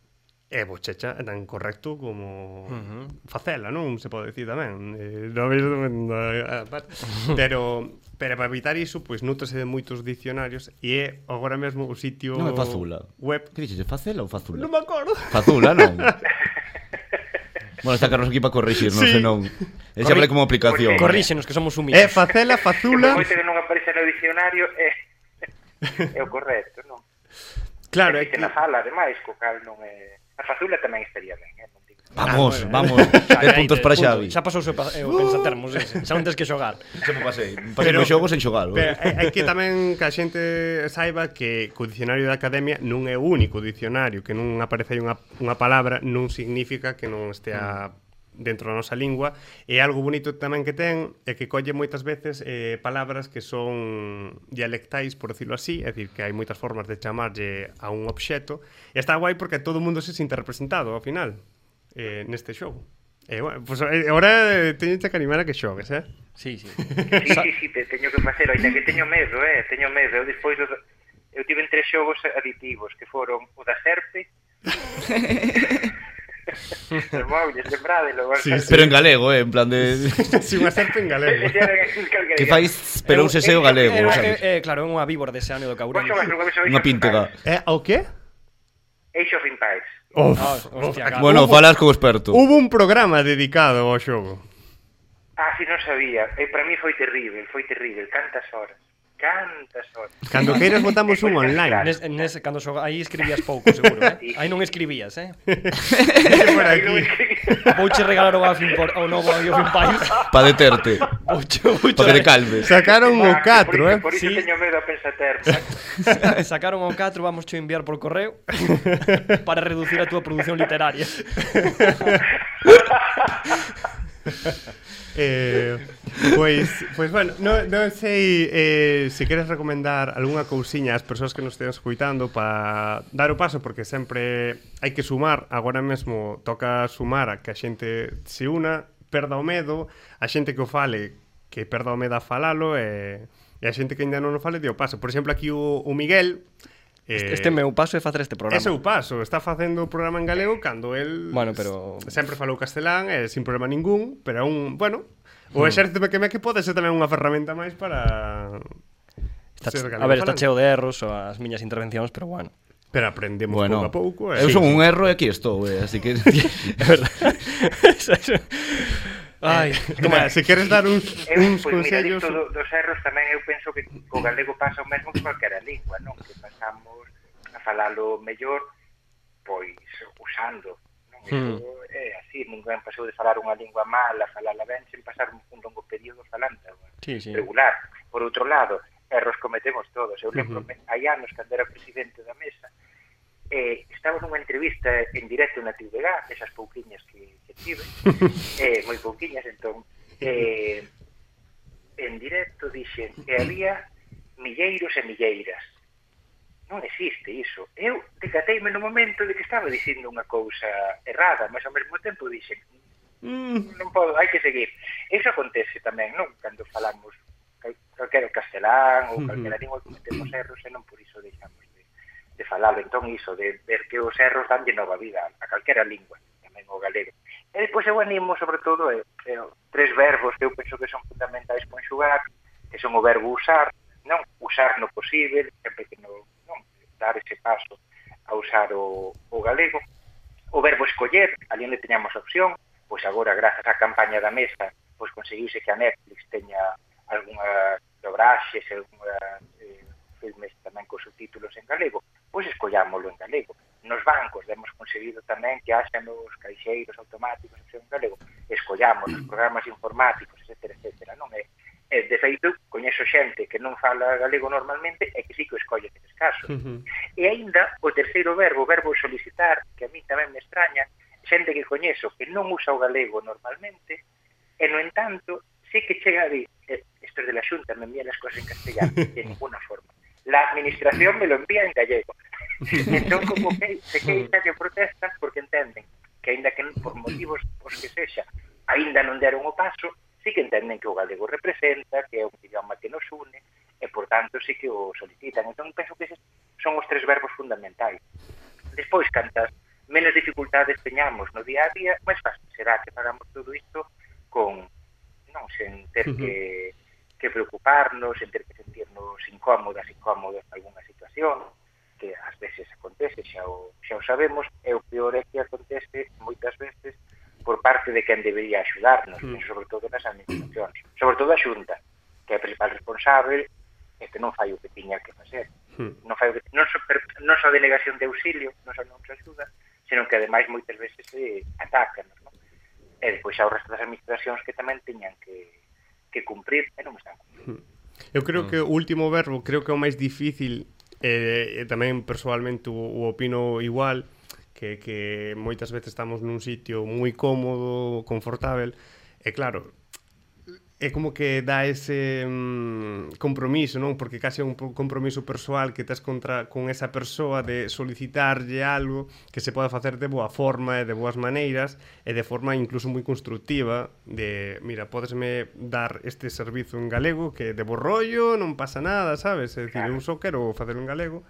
Speaker 1: É bochecha é tan correcto como uh -huh. facela, non? Se pode dicir tamén. Eh, non veis a parte. eh, Pero pero para evitar iso, pois nútrese de moitos diccionarios e é agora mesmo o sitio
Speaker 2: non é fazula.
Speaker 1: web.
Speaker 2: Que dixes, facela ou fazula?
Speaker 1: Non me acordo.
Speaker 2: Fazula, non. bueno, está Carlos aquí para corrixirnos,
Speaker 1: Sí.
Speaker 2: sí. senón. E xa vale como aplicación.
Speaker 3: Corríxenos, que somos humildes.
Speaker 1: É facela,
Speaker 4: Tula.
Speaker 1: fazula.
Speaker 4: Que que non aparece no diccionario é, é o correcto, non?
Speaker 1: Claro, é que
Speaker 4: que... na fala, ademais, co cal non é... A Fazula tamén estaría ben, eh? non digo.
Speaker 2: Vamos,
Speaker 1: Ah, bueno.
Speaker 2: vamos. De puntos para Xavi.
Speaker 3: Xa pasou o seu pa- eh, o pensatermos, ese. xa non tens que xogar.
Speaker 2: Se me pasei. Pasei o xogo sen xogalo.
Speaker 1: Pero hai hai que tamén que a xente saiba que o dicionario da academia non é o único dicionario, que non aparece aí unha, unha palabra non significa que non estea dentro da nosa lingua e algo bonito tamén que ten é que colle moitas veces eh, palabras que son dialectais, por decirlo así, é dicir, que hai moitas formas de chamarlle a un obxeto e está guai porque todo o mundo se sinte representado ao final eh, neste xogo. E, bueno, pues, eh, ahora eh, teñete que animar a que xogues, eh?
Speaker 3: Sí, sí.
Speaker 4: Sí, sí, sí, te teño que facer, ainda que teño medo, eh? Teño medo. Eu despois do... Eu tive tres xogos aditivos, que foron o da Serpe, Os móviles, lembrádelo.
Speaker 1: Sí, sí.
Speaker 2: Pero en galego, eh, en plan de...
Speaker 1: Si unha serpe en galego.
Speaker 2: que fais pelousese o galego,
Speaker 3: Eh,
Speaker 2: sabes?
Speaker 3: eh, eh, claro, é unha víbora dese ano do
Speaker 4: Pois
Speaker 3: Caureño.
Speaker 2: Unha píntega.
Speaker 1: Eh, o qué?
Speaker 4: Age of Empires.
Speaker 1: Uf,
Speaker 3: Ah, hostia,
Speaker 1: uf,
Speaker 3: claro.
Speaker 2: Bueno,
Speaker 1: hubo,
Speaker 2: falas co experto.
Speaker 1: hubo un programa dedicado ao xogo.
Speaker 4: Ah, si non sabía. E para mí foi terrible, foi terrible. Cantas horas. Cantas horas.
Speaker 1: Cando queiras botamos un online.
Speaker 3: Nes, nes, cando xoga, aí escribías pouco, seguro, eh? Aí non escribías, eh?
Speaker 1: Ese por aquí.
Speaker 3: Vouche regalar o Gafin por o novo Age of Empires.
Speaker 2: Pa deterte.
Speaker 3: Vouche, vouche.
Speaker 2: Pa que
Speaker 1: eh.
Speaker 2: te calmes.
Speaker 1: Sacaron o 4, eh?
Speaker 4: Por iso
Speaker 3: Sí.
Speaker 4: teño medo a Eh, pensater.
Speaker 3: Sacaron o 4, vamos cho enviar por correo para reducir a túa produción literaria.
Speaker 1: Eh, pois, pois bueno, non no sei eh, se queres recomendar algunha cousiña ás persoas que nos estean escuitando para dar o paso, porque sempre hai que sumar, agora mesmo toca sumar a que a xente se una, perda o medo, a xente que o fale que perda o medo a falalo e, e a xente que ainda non o fale de o paso. Por exemplo, aquí o, o Miguel eh,
Speaker 3: Este meu paso é facer este programa.
Speaker 1: É seu paso, está facendo o programa en galego cando el
Speaker 3: Bueno, pero-
Speaker 1: s- sempre falou castelán, eh, sin problema ningún, pero é un, bueno,
Speaker 3: Hmm.
Speaker 1: o exército que me que pode ser tamén unha ferramenta máis para
Speaker 3: Está,
Speaker 1: ser
Speaker 3: a
Speaker 1: galego
Speaker 3: ver, está
Speaker 1: falante.
Speaker 3: cheo de erros o as miñas intervencións, pero bueno.
Speaker 1: Pero aprendemos
Speaker 2: Bueno,
Speaker 1: pouco a eh. pouco.
Speaker 2: eu son un erro e aquí estou, eh, así que...
Speaker 3: É verdad. Ai,
Speaker 1: Mira, se queres dar uns,
Speaker 4: Eu,
Speaker 1: uns
Speaker 4: pois, mira,
Speaker 1: consellos...
Speaker 4: dito do, dos erros tamén eu penso que co galego pasa o mesmo que calquera lingua, non? Que pasamos a falalo mellor, pois, usando. Non? Iso é así, ninguén pasou de falar unha lingua mala, falala ben, sen pasar un, un longo período falando.
Speaker 3: Sí, sí.
Speaker 4: regular. Por outro lado, erros cometemos todos. Eu lembro, uh -huh. hai anos, cando era presidente da mesa, eh, estaba nunha entrevista en directo na TVG, esas pouquiñas que, que tive, eh, moi pouquiñas, entón, eh, en directo dixen que había milleiros e milleiras. Non existe iso. Eu decateime no momento de que estaba dicindo unha cousa errada, mas ao mesmo tempo dixen
Speaker 1: Mm.
Speaker 4: non podo, hai que seguir. Eso acontece tamén, non? Cando falamos, ca- calquera castelán ou calquera lingua que cometemos erros e non por iso deixamos de, de falalo. Entón iso, de ver que os erros danlle nova vida a calquera lingua, tamén o galego. E depois eu animo, sobre todo, eh, eh, tres verbos que eu penso que son fundamentais conxugar, que son o verbo usar, non usar no posible, sempre que non, non dar ese paso a usar o, o galego, o verbo escoller, ali onde teñamos opción, pois agora, grazas á campaña da mesa, pois conseguiuse que a Netflix teña algunhas dobraxes, algunhas eh, filmes tamén con subtítulos en galego, pois escollámoslo en galego. Nos bancos hemos conseguido tamén que haxan os caixeiros automáticos opción en galego, escollamos os programas informáticos, etc, etc. Non é, E, de feito, coñezo xente que non fala galego normalmente e que sí que o escolle nestes casos. E aínda o terceiro verbo, o verbo solicitar, que a mí tamén me extraña, xente que coñezo que non usa o galego normalmente, e no entanto, sí que chega a dir, "Eh, esto es de la xunta, me envían as cosas en castellano, de ninguna forma. La administración me lo envía en gallego. entón, como que se queixa que protestan porque entenden que aínda que por motivos os que sexa, aínda non deron o paso, sí que entenden que o galego representa, que é un idioma que nos une, e por tanto sí que o solicitan. Entón penso que eses son os tres verbos fundamentais. Despois, cantas menos dificultades teñamos no día a día, máis fácil será que fagamos todo isto con non sen ter que, que preocuparnos, sen ter que sentirnos incómodas, incómodos en algunha situación, que ás veces acontece, xa o, xa o sabemos, e o peor é que acontece moitas veces por parte de quen debería axudarnos, mm. sobre todo nas administracións, sobre todo a Xunta, que é a principal responsável e que non fai o que tiña que facer.
Speaker 1: Mm.
Speaker 4: Non fai o que, non só, per, non só delegación de auxilio, non só non nos axuda, senón que ademais moitas veces se atacan, non? E depois xa o resto das administracións que tamén tiñan que, que cumprir e non están cumprindo.
Speaker 1: Eu creo que o último verbo, creo que é o máis difícil eh, e tamén persoalmente o, o opino igual que, que moitas veces estamos nun sitio moi cómodo, confortável e claro, é como que dá ese mm, compromiso, non? Porque case é un po- compromiso persoal que tes contra con esa persoa de solicitarlle algo que se poda facer de boa forma e de boas maneiras e de forma incluso moi constructiva de, mira, podesme dar este servizo en galego que de bo rollo, non pasa nada, sabes? É dicir,
Speaker 4: Claro.
Speaker 1: eu só quero facelo en galego.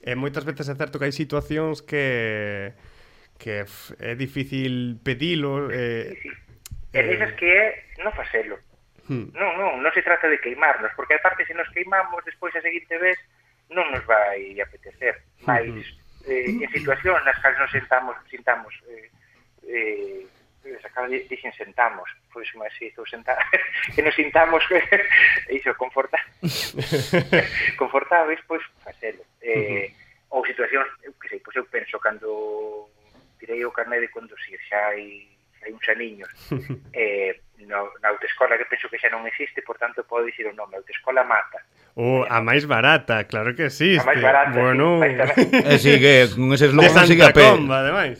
Speaker 1: E moitas veces é certo que hai situacións que que f, é difícil pedilo, eh,
Speaker 4: Sí. E nesas que é non facelo. Non, non, non se trata de queimarnos, porque aparte se nos queimamos despois a seguinte vez non nos vai apetecer. Mas eh, en situacións nas cales nos sentamos, sentamos eh, eh, sacar dixen sentamos, pois máis iso sentar, que nos sintamos iso confortar confortáveis, pois facelo. Eh, ou situacións, eu que sei, pois eu penso cando tirei o carné de conducir, xa hai, xa hai uns aniños, eh, no, na autoescola que penso que xa non existe, por tanto podo dicir o nome, autoescola mata.
Speaker 1: O a máis barata, claro que sí.
Speaker 4: A máis barata,
Speaker 1: Bueno,
Speaker 4: sí, máis barata.
Speaker 2: E sí que con ese
Speaker 1: de
Speaker 2: eslogan Eh, sigue
Speaker 1: Santa
Speaker 2: a pé.
Speaker 1: Comba, ademais.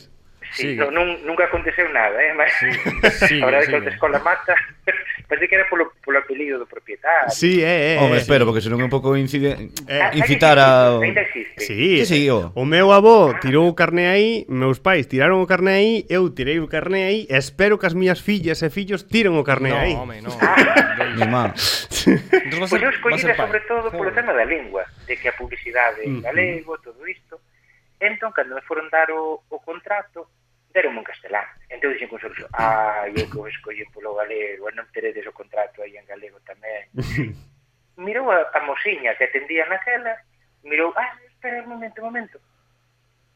Speaker 4: Sí,
Speaker 1: Sigue.
Speaker 4: no, nun, nunca aconteceu nada, eh, mas
Speaker 1: sigue,
Speaker 4: a verdade é
Speaker 1: sigue.
Speaker 4: que autoescola mata, parece que era polo, polo apelido do propietario. Ah,
Speaker 1: Sí, eh, é, é.
Speaker 2: Home,
Speaker 1: é.
Speaker 2: espero, porque senón é un pouco incide...
Speaker 1: Eh,
Speaker 2: incitar ao...
Speaker 4: Ainda existe.
Speaker 1: Sí,
Speaker 2: Sí, sí, o.
Speaker 1: o meu avó tirou o carné aí, meus pais tiraron o carné aí, eu tirei o carné aí, e espero que as miñas fillas e fillos tiren o carné
Speaker 3: No,
Speaker 1: aí.
Speaker 3: home, no.
Speaker 2: Mi má.
Speaker 3: Entonces va a
Speaker 4: Pois eu
Speaker 3: ser, va a ser
Speaker 4: escollida
Speaker 3: pai.
Speaker 4: sobre todo polo tema da lingua, de que a publicidade en galego, todo isto. Entón, cando me foron dar o, o contrato, deron un castelán. Entón dixen con sorriso, ai, eu que o escollín polo galego, e non teredes o contrato aí en galego tamén. Mirou a, a mosiña que atendía naquela, mirou, ah, espera un momento, un momento.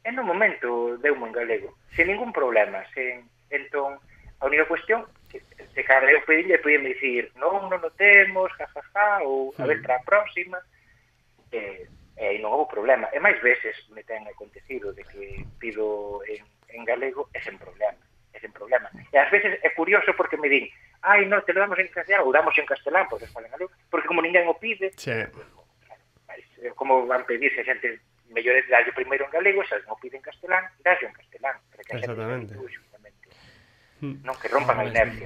Speaker 4: En un momento deu-me en galego, sen ningún problema, sen... Entón, a única cuestión, que- de cara eu pedílle, podíame dicir, non, non o temos, ja, ja, ja, ou a ver, para a próxima, e, e aí non houve problema. E máis veces me ten acontecido de que pido en, en galego e sen problema, é sen problema. E ás veces é curioso porque me din, ai, non, te lo damos en castelán, ou damos en castelán, porque falan galego, porque como ninguén o pide,
Speaker 1: Che,
Speaker 4: Mas, eh, como van pedirse a xente mellor é darlle primeiro en galego, xa non piden castelán, darlle en castelán, para que a xente
Speaker 1: Exactamente.
Speaker 4: se habitúe, xustamente. Non que rompan a inercia.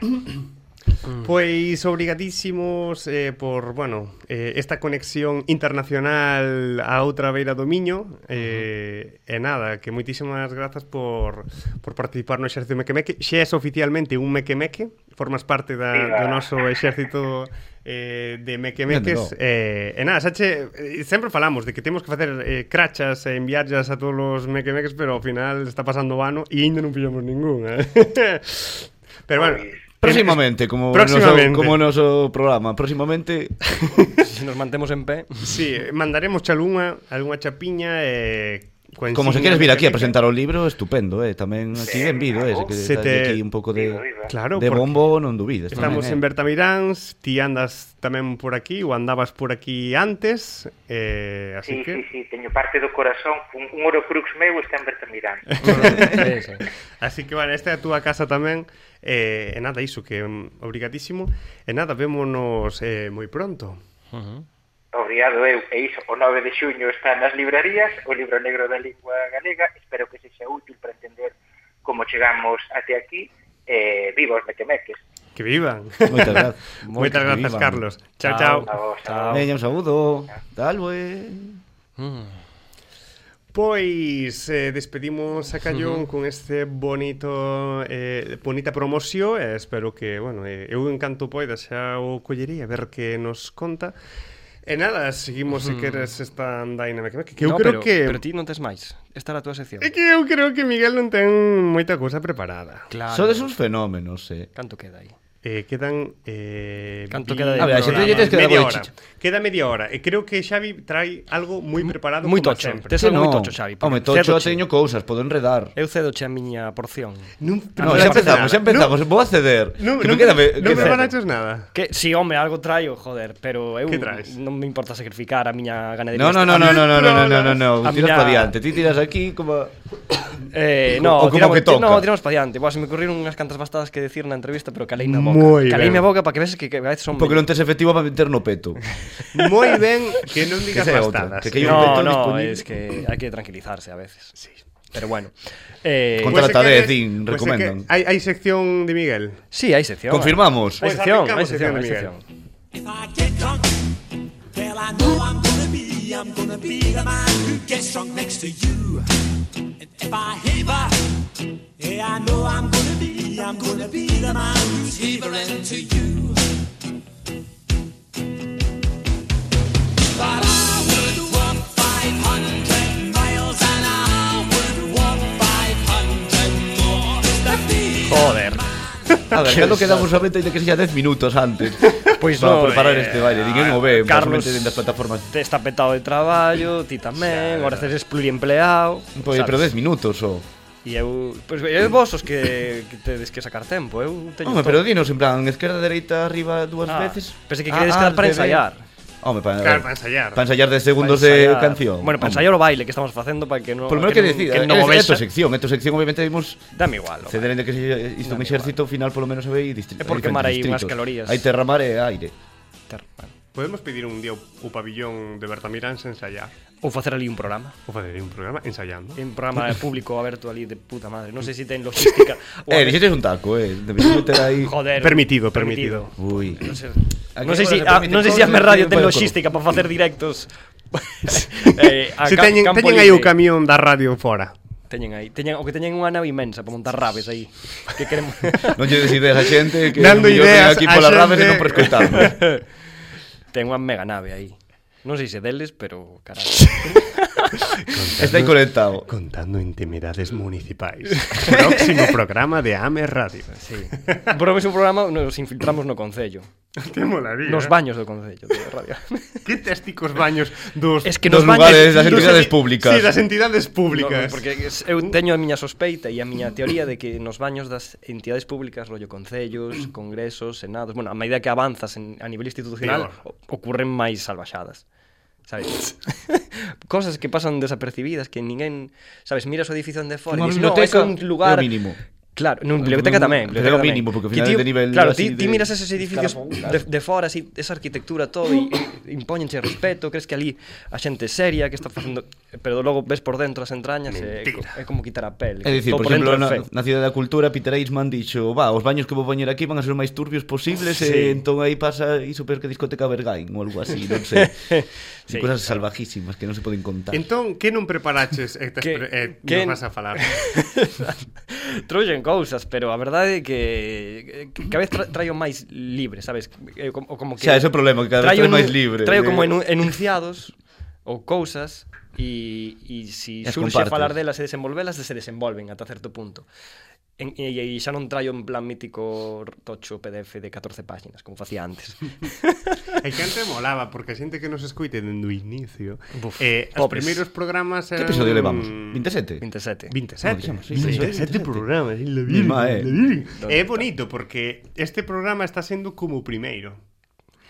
Speaker 1: Pois obrigadísimos eh, por, bueno, eh, esta conexión internacional a outra beira do Miño eh, E nada, que moitísimas grazas por, por participar no exército Mequemeque Xe és oficialmente un Mequemeque, formas parte da,
Speaker 4: Viva.
Speaker 1: do noso exército eh, de mequemeques eh, e nada, sache, eh, sempre falamos de que temos que facer eh, crachas e enviarlas a todos os mequemeques pero ao final está pasando o ano e ainda non pillamos ninguna pero bueno
Speaker 4: Pois,
Speaker 2: Próximamente, como
Speaker 1: Próximamente.
Speaker 2: noso- como noso programa. Próximamente
Speaker 3: Si nos mantemos en pé.
Speaker 1: Sí, mandaremos chalunha, algunha chapiña eh, coa
Speaker 2: Como se
Speaker 1: ensiña
Speaker 2: queres vir aquí a
Speaker 1: mequemeca.
Speaker 2: presentar o libro, estupendo, eh, tamén aquí
Speaker 4: Sí,
Speaker 2: ben vido, eh, se
Speaker 4: claro.
Speaker 2: que
Speaker 1: Se te-
Speaker 2: aquí un pouco de
Speaker 4: Viva, viva.
Speaker 1: Claro,
Speaker 2: de
Speaker 1: porque
Speaker 2: bombo, non dubides.
Speaker 1: Estamos en
Speaker 2: tamén, eh.
Speaker 1: Bertamiráns, ti andas tamén por aquí ou andabas por aquí antes, eh, así
Speaker 4: Sí,
Speaker 1: que
Speaker 4: sí, sí, teño parte do corazón, un, un orocrux meu está en Bertamirán.
Speaker 3: Sí, sí.
Speaker 1: Así que, vale, esta é a túa casa tamén eh, E nada, iso, que mm, obrigadísimo E nada, vémonos eh, moi pronto
Speaker 3: Ujú.
Speaker 4: Obrigado eu, e iso, o 9 de xuño está nas librarías, o libro negro da lingua galega, espero que sexa útil para entender como chegamos até aquí, eh, viva os mequemeques.
Speaker 1: Que vivan
Speaker 2: Moitas grazas.
Speaker 1: Moitas
Speaker 2: Que
Speaker 1: grazas,
Speaker 2: vivan.
Speaker 1: Carlos Chao, chao
Speaker 4: A vos, a
Speaker 3: Chao.
Speaker 2: Veña, un saúdo. Tal, bue.
Speaker 3: Mm.
Speaker 1: Pois eh, despedimos a Callón uh -huh. con este bonito eh, bonita promoción eh, espero que, bueno, eh, eu encanto poida xa o collería a ver que nos conta E nada, seguimos se queres esta andaina que, que eu
Speaker 3: no,
Speaker 1: creo
Speaker 3: pero,
Speaker 1: que
Speaker 3: Pero ti non tes máis. Esta era a túa sección.
Speaker 1: É que eu creo que Miguel non ten moita cousa preparada.
Speaker 3: Claro.
Speaker 2: Sodes uns fenómenos, eh.
Speaker 3: Canto queda aí?
Speaker 1: Eh, quedan eh,
Speaker 3: Canto
Speaker 1: vi-
Speaker 3: queda de
Speaker 2: A ver, a xente lle tes que dar
Speaker 1: media
Speaker 2: boa
Speaker 1: hora.
Speaker 2: chicha.
Speaker 1: Queda media hora e creo que Xavi trae algo moi preparado
Speaker 3: moi
Speaker 1: como
Speaker 3: tocho.
Speaker 1: sempre.
Speaker 3: Tes- Eso é moi tocho, Xavi, porque
Speaker 2: Home, tocho
Speaker 3: cédoche.
Speaker 2: teño cousas, podo
Speaker 1: Eh,
Speaker 2: enredar.
Speaker 3: Eu cedo che a miña porción.
Speaker 1: Non,
Speaker 2: No,
Speaker 3: Ah,
Speaker 2: xa empezamos, xa empezamos, vou a ceder.
Speaker 1: Non,
Speaker 2: que
Speaker 1: non,
Speaker 2: non queda me,
Speaker 1: non
Speaker 2: que
Speaker 1: me
Speaker 2: cedo.
Speaker 1: van a echar nada.
Speaker 3: Que, si, home, algo traio, joder, pero eu
Speaker 1: Que traes?
Speaker 3: non me importa sacrificar a miña ganadería.
Speaker 2: No, no, no, no, no, no, no, no, no, no,
Speaker 3: A
Speaker 2: tiras
Speaker 3: miña-
Speaker 2: para diante, ti tiras aquí como
Speaker 3: Eh,
Speaker 2: O-
Speaker 3: no,
Speaker 2: o como
Speaker 3: tiramos,
Speaker 2: que
Speaker 3: ti-
Speaker 2: toca.
Speaker 3: No, tiramos para diante. Buah, se me ocurrieron unhas cantas bastadas que decir na entrevista, pero calei na boca.
Speaker 1: Moi
Speaker 3: calei
Speaker 1: ben.
Speaker 3: na boca para que veas que, que a veces son...
Speaker 2: porque non tes efectivo para meter no peto.
Speaker 1: Moi ben que non digas
Speaker 2: Que sea outra,
Speaker 1: bastadas.
Speaker 2: que- que hai un
Speaker 3: No,
Speaker 2: ventón
Speaker 3: no,
Speaker 2: disponible.
Speaker 3: es que hay que tranquilizarse a veces.
Speaker 1: Sí.
Speaker 3: Pero bueno. Eh,
Speaker 2: Contra-
Speaker 1: Pois é
Speaker 2: Contratade,
Speaker 1: que-
Speaker 2: din,
Speaker 1: pois é que
Speaker 2: recomendan.
Speaker 1: Hai hai sección de Miguel.
Speaker 3: pues, sí, hay sección.
Speaker 2: Confirmamos.
Speaker 1: Pues
Speaker 3: Hay sección, hay
Speaker 1: aplicamos
Speaker 3: sección, hay
Speaker 1: sección de
Speaker 3: sección.
Speaker 5: If I get drunk, well, I know I'm gonna be, I'm gonna be the man who gets drunk next to you. And if I heaver, yeah, I know I'm gonna be, I'm gonna be the man who's heavering to you. But I would walk 500 miles and I would walk 500 more just to be
Speaker 3: Joder.
Speaker 2: A ver, cando quedamos a venta, que sexa 10 minutos antes.
Speaker 3: Pois
Speaker 2: para
Speaker 3: no,
Speaker 2: preparar
Speaker 3: eh,
Speaker 2: este baile, ninguén o ve,
Speaker 3: Carlos-
Speaker 2: Carlos... das plataformas.
Speaker 3: Te está petado de traballo, ti tamén, agora ceres pluriempleado.
Speaker 2: Pois,
Speaker 3: sabes?
Speaker 2: Pues, pero 10 minutos, o. Oh.
Speaker 3: E eu, pois é vos os que, que tedes que sacar tempo, eu teño
Speaker 2: Home,
Speaker 3: todo.
Speaker 2: pero dinos, en plan, izquierda, dereita, arriba, dúas
Speaker 3: Ah,
Speaker 2: veces.
Speaker 3: pensei que queredes quedar para
Speaker 2: al revés.
Speaker 3: ensaiar.
Speaker 2: Home, para,
Speaker 1: Claro, para ensaiar.
Speaker 2: Para ensaiar 10 segundos
Speaker 3: Para
Speaker 2: de
Speaker 3: ensaiar.
Speaker 2: canción.
Speaker 3: Bueno, para
Speaker 2: Home.
Speaker 3: ensaiar o baile que estamos facendo para que non
Speaker 2: Por lo menos que
Speaker 3: non-
Speaker 2: decida, eh,
Speaker 3: que non o
Speaker 2: é tu
Speaker 3: vexa.
Speaker 2: sección, é tu sección, obviamente vimos
Speaker 3: Dame igual.
Speaker 2: ceder en que se hizo un exército final polo menos aí distrito.
Speaker 3: É por quemar aí unhas calorías.
Speaker 2: Hai terra, mar e aire.
Speaker 1: Podemos pedir un día o, o pabillón de Bertamirán sen ensaiar.
Speaker 3: Ou facer ali un programa.
Speaker 1: Ou fazer un programa ensaiando.
Speaker 3: Un programa público aberto ali de puta madre. Non sei se ten logística. ou a
Speaker 2: Eh,
Speaker 3: ver-
Speaker 2: dixete un taco, eh. Debes meter aí.
Speaker 3: Joder.
Speaker 1: Permitido, permitido.
Speaker 2: Ui.
Speaker 3: Non sei-
Speaker 2: Aquí
Speaker 3: Non
Speaker 2: agora
Speaker 3: sei si,
Speaker 2: se
Speaker 3: ah,
Speaker 2: permite
Speaker 3: non sei si
Speaker 2: todo,
Speaker 3: a me
Speaker 2: se
Speaker 3: radio
Speaker 2: permite
Speaker 3: ten
Speaker 2: todo.
Speaker 3: logística para facer directos. eh, a
Speaker 1: Se
Speaker 3: cam-
Speaker 1: teñen,
Speaker 3: campo
Speaker 1: teñen aí o
Speaker 3: libre.
Speaker 1: camión da radio fora.
Speaker 3: Teñen aí, teñen, o que teñen unha nave inmensa para montar rabes aí. Que queremos
Speaker 2: Non lle des ideas a xente que
Speaker 1: Dando
Speaker 2: yo
Speaker 1: ideas
Speaker 2: aquí
Speaker 1: a
Speaker 2: pola rave
Speaker 1: xente.
Speaker 2: non por escoitarnos.
Speaker 3: Ten unha mega nave aí. Non sei se deles, pero carallo.
Speaker 2: Está aí conectado.
Speaker 1: Contando intimidades municipais. Próximo programa de AME Radio.
Speaker 3: Sí. Por o mesmo programa nos infiltramos no concello.
Speaker 1: Te molaría.
Speaker 3: Nos baños do concello de radio.
Speaker 1: Que testicos baños dos...
Speaker 3: Es que
Speaker 2: Dos
Speaker 3: nos baños
Speaker 2: lugares, las
Speaker 1: dos
Speaker 2: entidades
Speaker 1: enti-
Speaker 2: públicas.
Speaker 1: Sí, das entidades
Speaker 3: No,
Speaker 1: públicas.
Speaker 3: no, porque es- eu teño a miña sospeita e a miña teoría de que nos baños das entidades públicas, rollo
Speaker 2: Mm.
Speaker 3: concellos, congresos, senados, bueno, a medida que avanzas en, a nivel institucional,
Speaker 1: Peor.
Speaker 3: o, ocurren máis salvaxadas. Sabes? Cosas que pasan desapercibidas, que ninguén, sabes, miras o edificio onde fora
Speaker 2: Unha
Speaker 3: e dis, no, é
Speaker 2: biblioteca
Speaker 3: un
Speaker 2: é
Speaker 3: lugar
Speaker 2: o mínimo."
Speaker 3: Claro, non, biblioteca tamén,
Speaker 2: Pero é o
Speaker 3: biblioteca tamén.
Speaker 2: mínimo, porque ao
Speaker 3: Que
Speaker 2: final
Speaker 3: ti-
Speaker 2: de nivel
Speaker 3: Claro,
Speaker 2: así
Speaker 3: ti, ti
Speaker 2: de-
Speaker 3: miras esos edificios
Speaker 2: escalafón,
Speaker 3: de, de fora, así, esa arquitectura todo e e impóñenche respeto, crees que ali a xente seria que está facendo, pero logo ves por dentro as entrañas e é, co- é como quitar a pele.
Speaker 2: É dicir, por
Speaker 3: Todo
Speaker 2: exemplo,
Speaker 3: dentro
Speaker 2: na,
Speaker 3: é feo.
Speaker 2: na Cidade da Cultura Peter Eisman dixo, va, os baños que vou poñer aquí van a ser os máis turbios posibles sí. e entón aí pasa iso peor que discoteca Bergain ou algo así, non sei. sí,
Speaker 3: Sí,
Speaker 2: cosas salvajísimas que non se poden contar.
Speaker 1: Entón, que non preparaches e, te,
Speaker 3: Que-
Speaker 1: que, eh,
Speaker 3: que-
Speaker 1: nos vas a falar?
Speaker 3: Trouxen cousas, pero a verdade é que que cada vez tra traio máis libre, sabes? Eh, como, o como que
Speaker 2: Xa, ese é o problema, que cada vez
Speaker 3: traio
Speaker 2: trae máis
Speaker 3: enu-
Speaker 2: libre,
Speaker 3: Traio
Speaker 2: de-
Speaker 3: como enu- enunciados ou cousas e e si
Speaker 2: E as
Speaker 3: surxe
Speaker 2: compartes.
Speaker 3: falar delas e desenvolvelas, se desenvolven ata certo punto. En, e, e xa non traio en plan mítico tocho PDF de 14 páxinas, como facía antes.
Speaker 1: E que antes molaba, porque a xente que nos escoite dende o inicio
Speaker 3: Buf,
Speaker 1: eh, Os
Speaker 3: pobres.
Speaker 1: primeiros programas
Speaker 2: Que
Speaker 1: eran...
Speaker 2: episodio levamos?
Speaker 3: Mm,
Speaker 2: 27?
Speaker 1: 27.
Speaker 3: 27.
Speaker 2: Como dixemos, sí,
Speaker 1: 27,
Speaker 2: 27.
Speaker 1: programas, é la virgen,
Speaker 2: Misma, eh.
Speaker 1: la virgen.
Speaker 3: ¿Dónde
Speaker 1: É
Speaker 3: está?
Speaker 1: bonito porque este programa está sendo como o primeiro.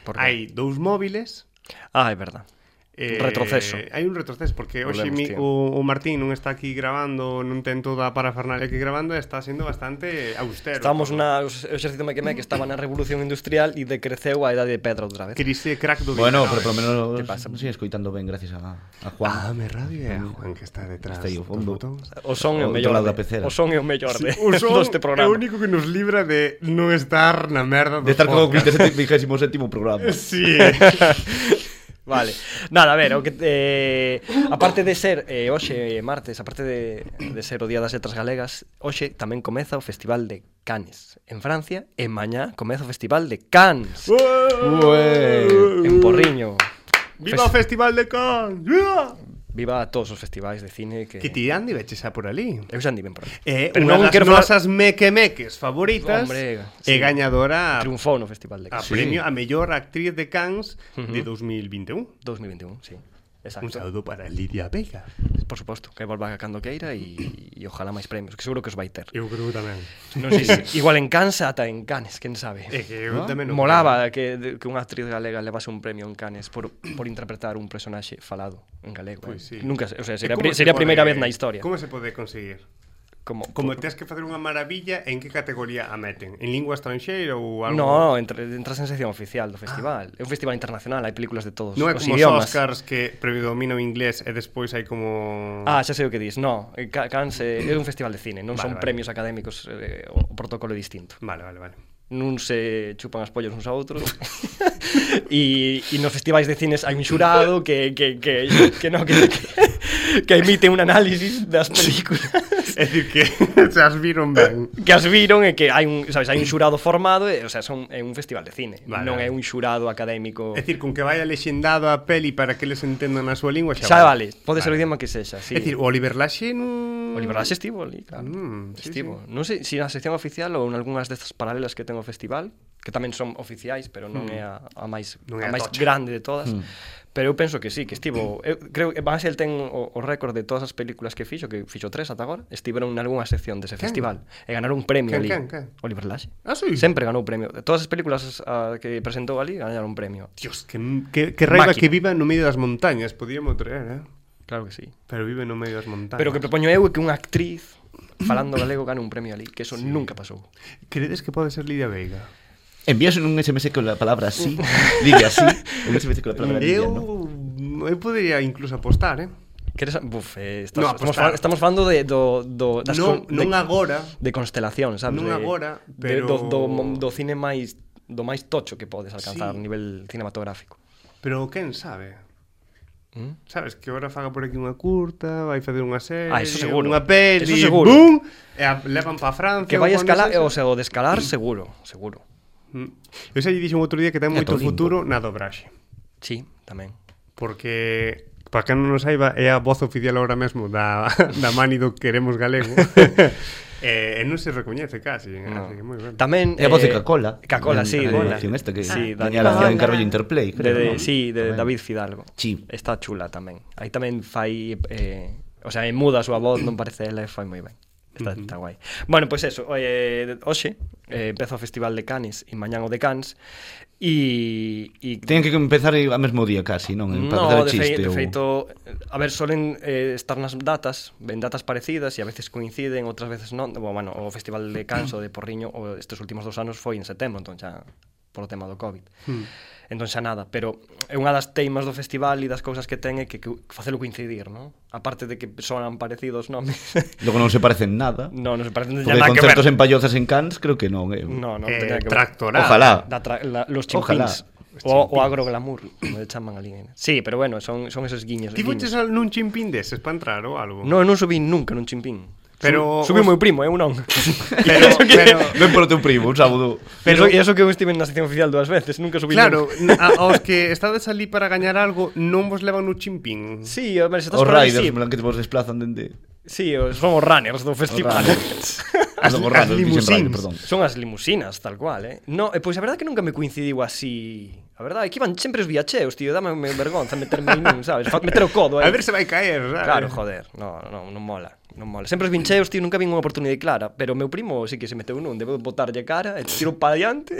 Speaker 3: Por qué?
Speaker 1: Hai dous móviles,
Speaker 3: Ah, é verdade.
Speaker 1: Eh,
Speaker 3: Retroceso.
Speaker 1: Hai un retroceso porque hoxe
Speaker 3: Volvemos,
Speaker 1: mi,
Speaker 3: tío.
Speaker 1: o, o Martín non está aquí grabando, non ten toda a parafernalia aquí grabando, e está sendo bastante austero.
Speaker 3: Estábamos na o exército mequemé que estaba na revolución industrial e decreceu a idade de pedra outra vez.
Speaker 1: Crise crack do
Speaker 2: Bueno,
Speaker 1: 29.
Speaker 2: pero polo menos
Speaker 3: Que pasa?
Speaker 2: non sei escoitando ben gracias a, a
Speaker 1: Ah,
Speaker 2: Juan.
Speaker 1: me radio é a Juan que está detrás
Speaker 2: Está aí
Speaker 1: dos
Speaker 2: ao fondo.
Speaker 1: botóns.
Speaker 3: O son é
Speaker 2: Outro
Speaker 3: o mellor.
Speaker 2: lado da
Speaker 3: de-
Speaker 2: pecera.
Speaker 3: O son é o mellor de,
Speaker 1: O son é
Speaker 3: deste
Speaker 1: o
Speaker 3: programa.
Speaker 1: único que nos libra de non estar na merda dos
Speaker 2: de estar como o
Speaker 1: podcasts.
Speaker 2: 27 27º programa.
Speaker 1: Sí,
Speaker 3: Vale. Nada, a ver, o que eh aparte de ser eh hoxe eh, martes, aparte de de ser o Día das Letras Galegas, hoxe tamén comeza o Festival de Cannes en Francia e mañá comeza o Festival de Cannes
Speaker 1: Uh!
Speaker 2: Ué.
Speaker 3: en Porriño.
Speaker 1: viva o
Speaker 3: Fes-
Speaker 1: Festival de Cannes! Yeah!
Speaker 3: Viva a todos os festivais de cine que
Speaker 1: Que ti ande veches a por ali.
Speaker 3: Eu xa andiven por aí.
Speaker 1: Eh,
Speaker 3: Pero
Speaker 1: unha
Speaker 3: non
Speaker 1: das
Speaker 3: quero falar-
Speaker 1: nosas meque-meques favoritas
Speaker 3: Hombre,
Speaker 1: e
Speaker 3: sí.
Speaker 1: gañadora
Speaker 3: Triunfou no Festival de
Speaker 1: a
Speaker 3: Cannes
Speaker 1: premio a mellor actriz de Cannes de
Speaker 3: Ujú.
Speaker 1: 2021.
Speaker 3: 2021, sí. Exacto.
Speaker 1: Un saúdo para Lidia Vega.
Speaker 3: Por suposto, que volva cando queira e, e ojalá máis premios, que seguro que os vai ter.
Speaker 1: Eu creo tamén.
Speaker 3: Non sei se, igual en Cannes ata en Cannes, quen sabe.
Speaker 1: É que eu
Speaker 2: Ah,
Speaker 1: tamén non
Speaker 3: Molaba que, de- que unha actriz galega levase un premio en Cannes por, por interpretar un personaxe falado en galego.
Speaker 1: Pois sí.
Speaker 3: eh. Nunca, se- o
Speaker 1: creo.
Speaker 3: sea,
Speaker 1: E
Speaker 3: sería, pri,
Speaker 1: como se
Speaker 3: sería a
Speaker 1: pode-
Speaker 3: primeira vez na historia.
Speaker 1: Como se pode conseguir?
Speaker 3: Como,
Speaker 1: Como tes que facer unha maravilla, en que categoría a meten? En lingua estranxeira ou algo?
Speaker 3: No, entre, entras en sección oficial do festival. É un festival internacional, hai películas de todos
Speaker 1: Non é
Speaker 3: os
Speaker 1: como os
Speaker 3: idiomas.
Speaker 1: Oscars que predomina o inglés e despois hai como...
Speaker 3: Ah, xa sei o que dis. No, eh, Ca- Cannes eh, é un festival de cine, non
Speaker 1: Vale,
Speaker 3: son
Speaker 1: vale.
Speaker 3: premios académicos, eh, o o protocolo é distinto.
Speaker 1: Vale, vale, vale.
Speaker 3: non se chupan as pollas uns a outros e, e nos festivais de cines hai un xurado que que que que no que que emite un análisis das películas
Speaker 1: É dicir que se as viron ben.
Speaker 3: que as viron e que hai un, sabes, hai un xurado formado, e, o sea, son é un festival de cine,
Speaker 1: Vale,
Speaker 3: non é
Speaker 1: vale.
Speaker 3: un xurado académico.
Speaker 1: É dicir, con que vaya lexendado a peli para que les entendan a súa lingua, xa,
Speaker 3: Xa vale, pode ser o idioma que sexa,
Speaker 1: Sí.
Speaker 3: sí.
Speaker 1: É dicir, o Oliver Laxe non...
Speaker 3: Oliver Lash estivo ali, claro.
Speaker 1: Mm, sí,
Speaker 3: estivo.
Speaker 1: sí.
Speaker 3: Non sei se na sección oficial ou en algunhas destas paralelas que ten o festival, que tamén son oficiais, pero non é a, a máis
Speaker 1: Non é Mm. a
Speaker 3: a máis
Speaker 1: tocha.
Speaker 3: grande de todas. Pero eu penso que sí, que estivo, eu creo que Van Helsing ten o, o récord de todas as películas que fixo, que fixo tres ata agora, estiveron en algunha sección dese
Speaker 1: Quen?
Speaker 3: festival e ganaron un premio
Speaker 1: Quen,
Speaker 3: ali.
Speaker 1: quen, quen?
Speaker 3: Oliver Lash.
Speaker 1: Ah, sí?
Speaker 3: Sempre ganou premio. De todas as películas uh, que presentou ali ganaron un premio.
Speaker 1: Dios, que, que, que raiva
Speaker 3: Máquina.
Speaker 1: que viva no medio das montañas, podíamos traer, eh?
Speaker 3: Claro que sí.
Speaker 1: Pero vive no medio das montañas.
Speaker 3: Pero o que propoño eu é que unha actriz falando galego gane un premio ali, que eso sí. nunca pasou.
Speaker 1: Credes que pode ser Lidia Veiga?
Speaker 2: Envías un SMS con la palabra así, Lidia así, un SMS con la palabra Lidia, ¿no?
Speaker 1: Eu, eu podería incluso apostar, eh?
Speaker 3: Queres, buf, eh, estás,
Speaker 1: No,
Speaker 3: estamos,
Speaker 1: apostar.
Speaker 3: fa, estamos falando de do, do das
Speaker 1: Non,
Speaker 3: con-
Speaker 1: non
Speaker 3: de,
Speaker 1: agora,
Speaker 3: de constelación, sabes?
Speaker 1: non
Speaker 3: de,
Speaker 1: agora,
Speaker 3: de-
Speaker 1: pero-
Speaker 3: do, do, mo- do cine máis do máis tocho que podes
Speaker 1: Sí.
Speaker 3: alcanzar a nivel cinematográfico.
Speaker 1: pero quen sabe?
Speaker 3: Mm?
Speaker 1: Sabes que ahora faga por aquí unha curta, vai facer unha serie,
Speaker 3: Ah, eso seguro.
Speaker 1: unha peli,
Speaker 3: Eso seguro.
Speaker 1: bum, e a, levan pa Francia.
Speaker 3: Que vai
Speaker 1: ou pa onde
Speaker 3: escalar,
Speaker 1: sexa.
Speaker 3: o sea, o de escalar seguro, seguro.
Speaker 1: Mm. Eu xa lle dixen outro día que ten
Speaker 2: É
Speaker 1: moito
Speaker 2: Tolingo.
Speaker 1: futuro na dobraxe.
Speaker 3: Sí, tamén.
Speaker 1: Porque, para que non nos saiba, é a voz oficial ahora mesmo da, da mani do Queremos Galego. Eh, e, e non se recoñece casi. No.
Speaker 3: No.
Speaker 1: Así Ah, que moi ben.
Speaker 3: Tamén
Speaker 2: É a voz de
Speaker 3: eh,
Speaker 2: Cacola.
Speaker 3: Cacola, sí,
Speaker 2: A
Speaker 3: de-
Speaker 2: dirección esta que
Speaker 3: sí, da-
Speaker 2: tiña la en
Speaker 6: Cacola.
Speaker 2: Carollo Interplay,
Speaker 3: de,
Speaker 2: creo,
Speaker 3: de,
Speaker 2: ¿no?
Speaker 3: sí, de
Speaker 2: Tamén.
Speaker 3: David Fidalgo.
Speaker 2: Sí.
Speaker 3: Está chula tamén. Aí tamén fai eh, o sea, é muda a súa voz, non parece ela, e fai moi ben. Está, está guai. Bueno, pois pues eso, eh, hoxe eh, empeza o Festival de Cannes e mañán o de Cannes e, e
Speaker 2: Tienen que empezar ao mesmo día casi, non? Para facer
Speaker 3: No,
Speaker 2: o
Speaker 3: de,
Speaker 2: chiste.
Speaker 3: fei, de
Speaker 2: ou-
Speaker 3: feito, a ver, solen eh, estar nas datas, en datas parecidas e a veces coinciden, outras veces non. Bo, bueno, o Festival de Canso de Porriño o estes últimos dos anos foi en setembro, entón xa por o tema do COVID. Hmm. Entón xa nada, pero é unha das teimas do festival e das cousas que ten é que, que facelo coincidir, non? A parte de que sonan parecidos nomes.
Speaker 2: Logo non se parecen nada.
Speaker 3: non, non se parecen de
Speaker 2: Porque
Speaker 3: nada que ver.
Speaker 2: concertos en Pallozas en Cans creo que non, eh.
Speaker 3: No, non
Speaker 1: Eh,
Speaker 3: tenía que ver.
Speaker 1: tractorada.
Speaker 2: Ojalá.
Speaker 3: Da tra- la- los
Speaker 2: Ojalá.
Speaker 3: chimpins. O, o agroglamour, como le chaman ali. eh. Sí, pero bueno, son, son esos guiños.
Speaker 1: Ti
Speaker 3: guiños.
Speaker 1: foches al nun chimpín deses para entrar ou algo?
Speaker 3: No, non subín nunca nun chimpín.
Speaker 1: Pero os-
Speaker 3: Subiu meu primo, eu non.
Speaker 1: Pero, pero,
Speaker 2: Ven polo teu primo, un sábado.
Speaker 3: Pero e eso que eu estive na sección oficial dúas veces, nunca subí.
Speaker 1: claro,
Speaker 3: nunca.
Speaker 1: na- a- aos que estades ali para gañar algo non vos levan no chimpín.
Speaker 3: Sí, a ver, se estás
Speaker 2: Os
Speaker 3: por aí,
Speaker 2: riders,
Speaker 3: sí.
Speaker 2: en plan, que te vos desplazan dende...
Speaker 3: Sí, os- son os runners do festival.
Speaker 1: As-
Speaker 2: As,
Speaker 1: as limusíns.
Speaker 2: perdón.
Speaker 3: Son as limusinas, tal cual, eh? No, e pois a verdade é que nunca me coincidiu así. A verdade é que iban sempre os viacheos, tío, dame me vergonza meterme aí nun, Mm, sabes? Fa- Meter o codo aí.
Speaker 1: A ver se vai caer, ¿sabes?
Speaker 3: Claro, joder, no, no, non mola, non mola. Sempre os vincheos, tío, nunca vin unha oportunidade clara, pero o meu primo sí que se meteu nun, debo botarlle cara e tiro para diante.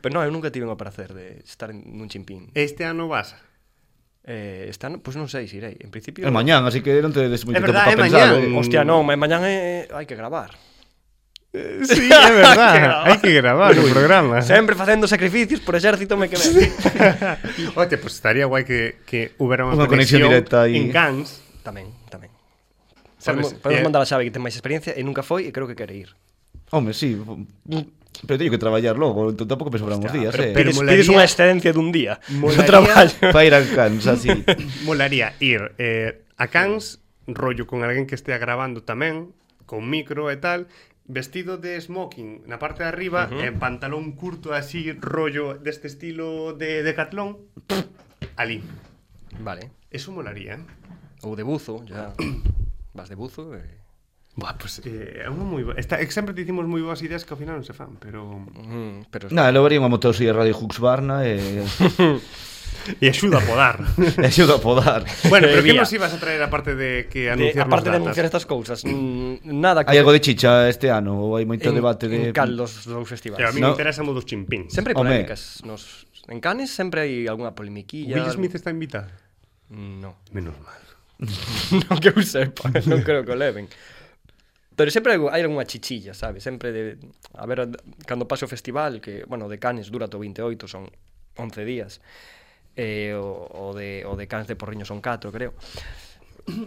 Speaker 3: pero non, eu nunca tive o placer de estar en- nun chimpín.
Speaker 1: Este ano vas.
Speaker 3: Eh, está, no- pois non sei se irei. En principio
Speaker 2: É mañán, así que non te des
Speaker 1: É
Speaker 2: moito tempo
Speaker 1: verdad,
Speaker 2: para
Speaker 1: é
Speaker 2: pensar.
Speaker 1: mañán.
Speaker 2: eh.
Speaker 3: Hostia, non, ma- mañán é... hai que gravar.
Speaker 1: Eh, Sí, é verdad. Hai que gravar o programa.
Speaker 3: Sempre facendo sacrificios por exército me quedé.
Speaker 1: Oye, pues estaría guai que, que hubiera una,
Speaker 2: Una conexión directa ahí.
Speaker 1: en Gans.
Speaker 3: tamén, tamén.
Speaker 1: ¿sabes?
Speaker 3: Podemos, podemos
Speaker 1: Eh,
Speaker 3: mandar a Xavi que ten máis experiencia e nunca foi e creo que quere ir.
Speaker 2: Home, sí. Pero teño que traballar logo, entón tampouco me sobran uns días,
Speaker 1: pero-
Speaker 2: eh.
Speaker 1: pero-
Speaker 3: pides,
Speaker 1: molaría-
Speaker 3: pides unha excedencia dun día de
Speaker 1: Molaría-
Speaker 3: traballo.
Speaker 2: Para ir al cans, así.
Speaker 1: Molaría ir eh, a Cans, rollo con alguén que estea grabando tamén, con micro e tal, vestido de smoking na parte de arriba, uh -huh. en pantalón curto así, rollo deste estilo de decatlón, ali.
Speaker 3: Vale.
Speaker 1: Eso molaría, eh?
Speaker 3: Ou de buzo, ya. Vas de buzo eh. e...
Speaker 1: Buah, pues, eh, é unha moi boa. Esta, é que sempre dicimos moi boas ideas que ao final non se fan, pero...
Speaker 3: Mm, pero
Speaker 2: Nada, logo haría unha motosía Radio Hux Barna e...
Speaker 1: E axuda a podar.
Speaker 2: e axuda a podar.
Speaker 1: bueno, pero que
Speaker 3: Debía.
Speaker 1: nos ibas a traer aparte de que
Speaker 3: de,
Speaker 1: anunciarnos
Speaker 3: aparte de
Speaker 1: datas?
Speaker 3: anunciar estas cousas, mm, nada que
Speaker 2: Hai algo de chicha este ano, ou hai moito
Speaker 3: en,
Speaker 2: debate
Speaker 3: en
Speaker 2: de...
Speaker 3: cal dos dous
Speaker 1: Que a
Speaker 3: festivais.
Speaker 1: mí me
Speaker 2: No.
Speaker 1: interesa modo dos chimpín.
Speaker 3: Sempre hai
Speaker 2: Home.
Speaker 3: polémicas nos en Cannes sempre hai algunha polemiquilla.
Speaker 1: Will Smith está invitado.
Speaker 3: No,
Speaker 1: Menos mal.
Speaker 3: non que eu sepa, non creo que o leven. Pero sempre hai hai algunha chichilla, sabe? Sempre de a ver cando paso o festival que, bueno, o de Cannes dura to 28, son 11 días. E o, o de o de Cannes de Porriño son 4, creo.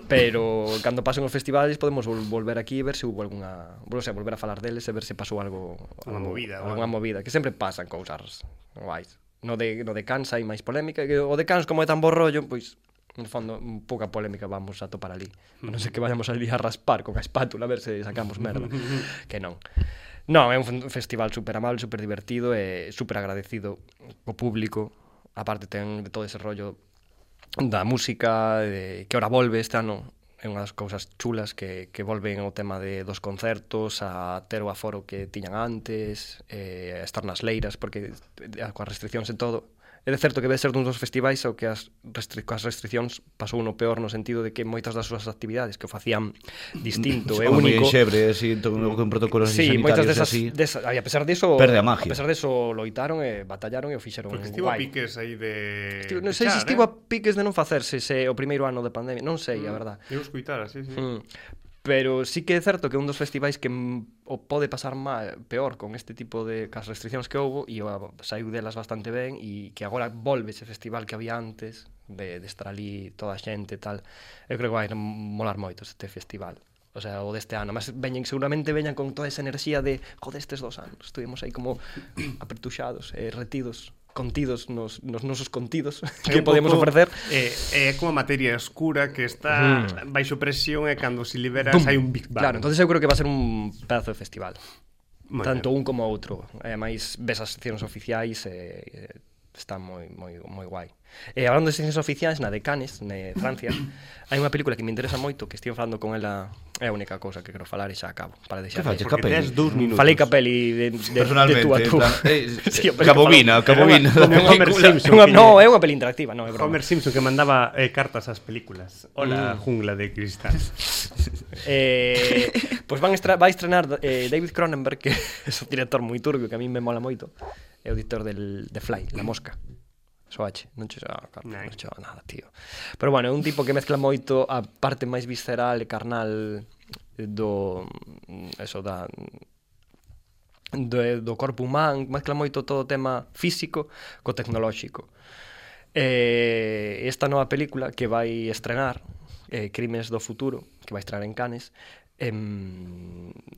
Speaker 3: Pero cando pasen os festivais podemos vol volver aquí e ver se hubo algunha, bueno, o sea, volver a falar deles e ver se pasou algo,
Speaker 1: Unha
Speaker 3: algo-
Speaker 1: movida,
Speaker 3: algunha
Speaker 1: bueno.
Speaker 3: movida, que sempre pasan cousas guais. No de no de Cans hai máis polémica, que o de Cans como é tan bo rollo, pois no fondo un pouca polémica vamos a topar ali. A non ser que vayamos ali a raspar con a espátula a ver se sacamos merda, que non. Non, é un fen- festival super amable, super divertido e super agradecido co público. Aparte ten de todo ese rollo da música, de que ora volve este ano é unha das cousas chulas que, que volven ao tema de dos concertos, a ter o aforo que tiñan antes, eh, a estar nas leiras, porque eh, coas restriccións e todo. É de certo que debe ser dun dos festivais o que as, restric as restriccións pasou no peor no sentido de que moitas das súas actividades que o facían distinto e
Speaker 2: Como moi
Speaker 3: único...
Speaker 2: enxebre, así, entón, con protocolos
Speaker 3: Sí,
Speaker 2: sanitarios
Speaker 3: moitas desas,
Speaker 2: así.
Speaker 3: desa, e a pesar diso
Speaker 2: Perde a magia.
Speaker 3: A pesar diso loitaron e batallaron e o fixeron
Speaker 1: Porque estivo a
Speaker 3: guai.
Speaker 1: piques aí de...
Speaker 3: Estivo- non sei
Speaker 1: de
Speaker 3: se
Speaker 1: char, eh?
Speaker 3: estivo
Speaker 1: Mm.
Speaker 3: a piques de non facerse se o primeiro ano de pandemia, non sei, a verdad.
Speaker 1: Eu escuitara, sí, sí.
Speaker 3: Mm. Pero sí que é certo que é un dos festivais que mm, o pode pasar má, peor con este tipo de cas restriccións que houbo e o a- saiu delas bastante ben e que agora volve ese festival que había antes de, de estar ali toda a xente e tal. Eu creo que vai molar moito este festival. O sea, o deste ano. Mas veñen, seguramente veñan con toda esa enerxía de joder estes dos anos. Estuvimos aí como apertuxados, eh, retidos, contidos nos, nos nosos contidos
Speaker 1: É
Speaker 3: que
Speaker 1: un
Speaker 3: podíamos
Speaker 1: pouco,
Speaker 3: ofrecer.
Speaker 1: Eh, é como a materia escura que está
Speaker 2: Mm.
Speaker 1: baixo presión e cando se liberas hai un Big Bang.
Speaker 3: Claro, entonces eu creo que va a ser un pedazo de festival.
Speaker 1: Moi
Speaker 3: tanto un como outro. E ademais ves as seccións oficiais e, e eh, está moi moi moi guai. E Eh, hablando de seccións oficiais na de Cannes, na Francia, hai unha película que me interesa moito que estive falando con ela, é a única cousa que quero falar e xa acabo, para deixar.
Speaker 2: Que fache,
Speaker 1: Porque
Speaker 2: Capelli.
Speaker 1: tes dous minutos.
Speaker 3: Falei ca peli de, de, de
Speaker 2: Personalmente,
Speaker 3: tú a
Speaker 2: en
Speaker 3: tú.
Speaker 2: plan, eh,
Speaker 3: Sí, a peli que
Speaker 2: Cabovina,
Speaker 3: falamos.
Speaker 2: Cabovina.
Speaker 1: Como
Speaker 2: da
Speaker 1: Homer
Speaker 2: película.
Speaker 1: Simpson.
Speaker 3: É unha- No, é unha peli interactiva, non é broma.
Speaker 1: Homer Simpson que mandaba eh, cartas ás películas.
Speaker 2: Mm.
Speaker 1: Hola, jungla de cristal.
Speaker 3: Eh, pois van estra vai estrenar eh, David Cronenberg, que é un director moi turbio que a mí me mola moito. É o director del de Fly, La Mosca. Soache, non che ah, Carlos,
Speaker 1: Nei.
Speaker 3: non che nada, tío. Pero bueno, é un tipo que mezcla moito a parte máis visceral e carnal do eso da do, do corpo humán, mezcla moito todo o tema físico co tecnolóxico. Eh, esta nova película que vai estrenar eh, Crimes do futuro, que vai estrenar en Cannes, em,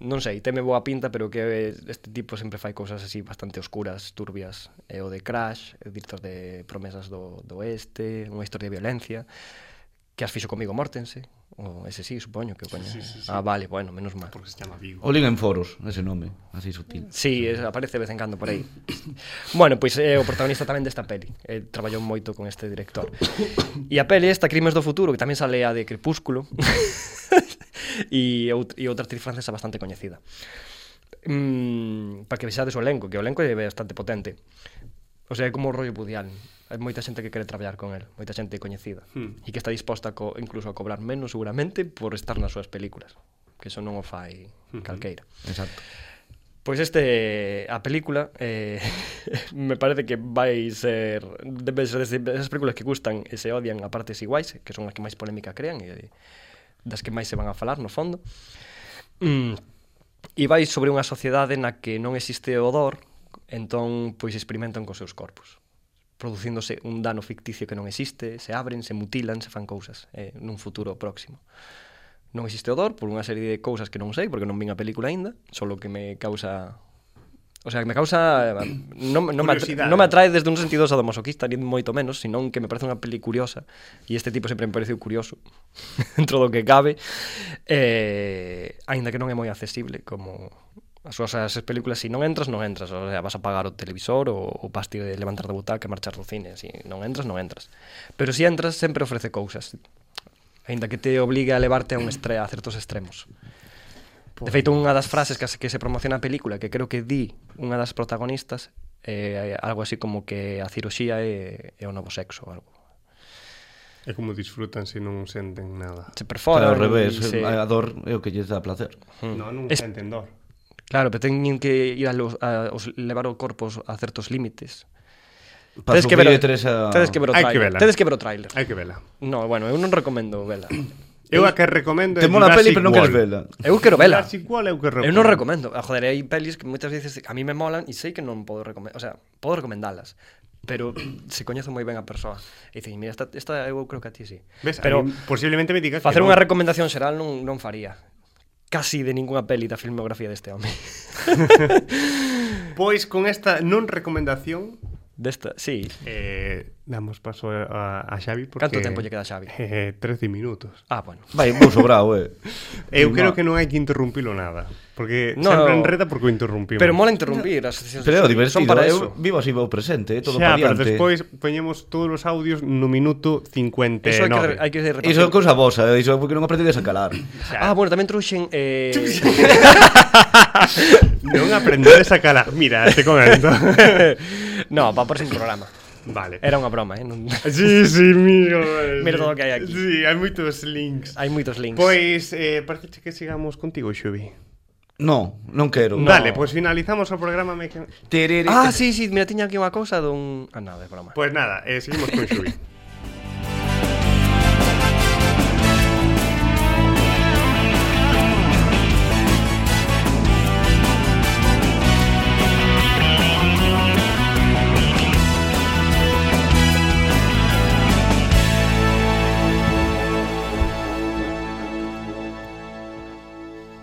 Speaker 3: non sei, teme boa pinta, pero que eh, este tipo sempre fai cousas así bastante oscuras, turbias, e o de Crash, e director de Promesas do, do Oeste, unha historia de violencia, que as fixo comigo Mortense, O ese sí, supoño que o coña. Ah, vale, bueno, menos mal.
Speaker 1: Porque se llama Vigo.
Speaker 2: Olin en foros, ese nome, así sutil.
Speaker 3: Sí, es- aparece de vez en cando por aí. bueno, pois é o protagonista tamén desta peli. Eh, traballou moito con este director. E a peli esta, Crimes do Futuro, que tamén sale a de Crepúsculo. e, out, e outra actriz francesa bastante coñecida. Mm, para que vexades o elenco, que o elenco é bastante potente. O sea, é como o rollo Woody Allen. Hai moita xente que quere traballar con el, moita xente coñecida hmm. e que está disposta a co, incluso a cobrar menos seguramente por estar nas súas películas, que eso non o fai calqueira.
Speaker 2: Exacto.
Speaker 3: Pois este a película eh, me parece que vai ser debe ser des- esas películas que gustan e se odian a partes iguais, que son as que máis polémica crean e das que máis se van a falar no fondo. Mm, e vai sobre unha sociedade na que non existe o odor, entón pois experimentan cos seus corpos producíndose un dano ficticio que non existe, se abren, se mutilan, se fan cousas eh, nun futuro próximo non existe odor por unha serie de cousas que non sei porque non vin a película aínda, solo que me causa O sea, que me causa eh, non, non, me atra-
Speaker 1: Curiosidade.
Speaker 3: non me atrae desde un sentido sadomasoquista ni moito menos, senón que me parece unha peli curiosa e este tipo sempre me pareceu curioso dentro do que cabe eh, aínda que non é moi accesible como as súas as películas si non entras, non entras o sea, vas a pagar o televisor ou o pasti de levantar da butaca e marchar do cine si non entras, non entras pero si entras sempre ofrece cousas Ainda que te obligue a levarte a un estre a certos extremos.
Speaker 2: Pois.
Speaker 3: De feito, unha das frases que, se- que se promociona a película, que creo que di unha das protagonistas, eh, algo así como que a cirurxía é, é o novo sexo ou algo.
Speaker 1: É como disfrutan se non senten nada.
Speaker 3: Se
Speaker 2: Claro,
Speaker 3: perfora
Speaker 2: ao revés,
Speaker 3: se...
Speaker 2: a dor é o que lles dá placer.
Speaker 1: No, non
Speaker 3: Es-
Speaker 1: senten dor.
Speaker 3: Claro, pero teñen que ir a, los, a os, levar o corpo a certos límites.
Speaker 2: Pa
Speaker 3: Tedes que ver, o-
Speaker 2: tres a...
Speaker 3: tedes que ver o
Speaker 1: Hai que
Speaker 3: trailer.
Speaker 1: vela.
Speaker 3: Tedes que ver o trailer.
Speaker 1: Hai que vela.
Speaker 3: No, bueno, eu non recomendo vela.
Speaker 1: Eu a que recomendo é
Speaker 2: Te mola a
Speaker 1: Jurassic
Speaker 2: peli, pero non queres
Speaker 1: World.
Speaker 2: vela.
Speaker 3: Eu quero vela.
Speaker 1: Jurassic World é o que
Speaker 3: Eu non recomendo. Ah, joder, hai pelis que moitas veces a mí me molan e sei que non podo recomendar, o sea, podo recomendalas, pero se coñezo moi ben a persoa. E dicen, mira, esta, esta eu creo que a ti sí.
Speaker 1: Ves,
Speaker 3: pero
Speaker 1: pero posiblemente me digas
Speaker 3: facer
Speaker 1: que
Speaker 3: unha
Speaker 1: non.
Speaker 3: recomendación xeral non, non faría. Casi de ninguna peli da filmografía deste home.
Speaker 1: Pois con esta non recomendación
Speaker 3: Desta, sí.
Speaker 1: eh, damos paso a, a Xavi porque
Speaker 3: Canto tempo lle queda a Xavi?
Speaker 1: Eh, 13 minutos.
Speaker 3: Ah, bueno.
Speaker 2: Vai, vou sobrao, eh.
Speaker 1: Eu
Speaker 2: Sí,
Speaker 1: creo
Speaker 2: ma-
Speaker 1: que non hai que interrumpilo nada, porque
Speaker 3: No.
Speaker 1: sempre enreda porque o interrumpimos.
Speaker 3: Pero mola interrumpir as sesións.
Speaker 2: Pero é o
Speaker 3: son-
Speaker 2: divertido,
Speaker 3: Son para
Speaker 2: eu
Speaker 3: eso.
Speaker 2: vivo así o presente, eh, todo
Speaker 1: Xa,
Speaker 2: para
Speaker 1: pero
Speaker 2: diante.
Speaker 1: despois poñemos todos os audios no minuto 59.
Speaker 3: Eso hai que, hai que repartir.
Speaker 2: Iso é cousa vosa, eh, iso é porque non aprendedes a calar.
Speaker 3: Ah, bueno, tamén truxen eh,
Speaker 1: Non aprendedes a calar. Mira, te comento.
Speaker 3: no, para o próximo programa.
Speaker 1: vale.
Speaker 3: Era unha broma, eh. Non...
Speaker 1: Sí, sí, mira.
Speaker 3: Mira todo o que hai aquí.
Speaker 1: Sí, hai moitos links.
Speaker 3: Hai moitos links.
Speaker 1: Pois, eh, parece que sigamos contigo, Xubi.
Speaker 2: No, non quero.
Speaker 3: No.
Speaker 1: Vale, pois finalizamos o programa. Me... que-
Speaker 2: Terere-
Speaker 3: Ah, sí, sí, mira, tiña aquí unha cousa dun... Ah, nada, é broma.
Speaker 1: Pois nada, eh, seguimos con Xubi.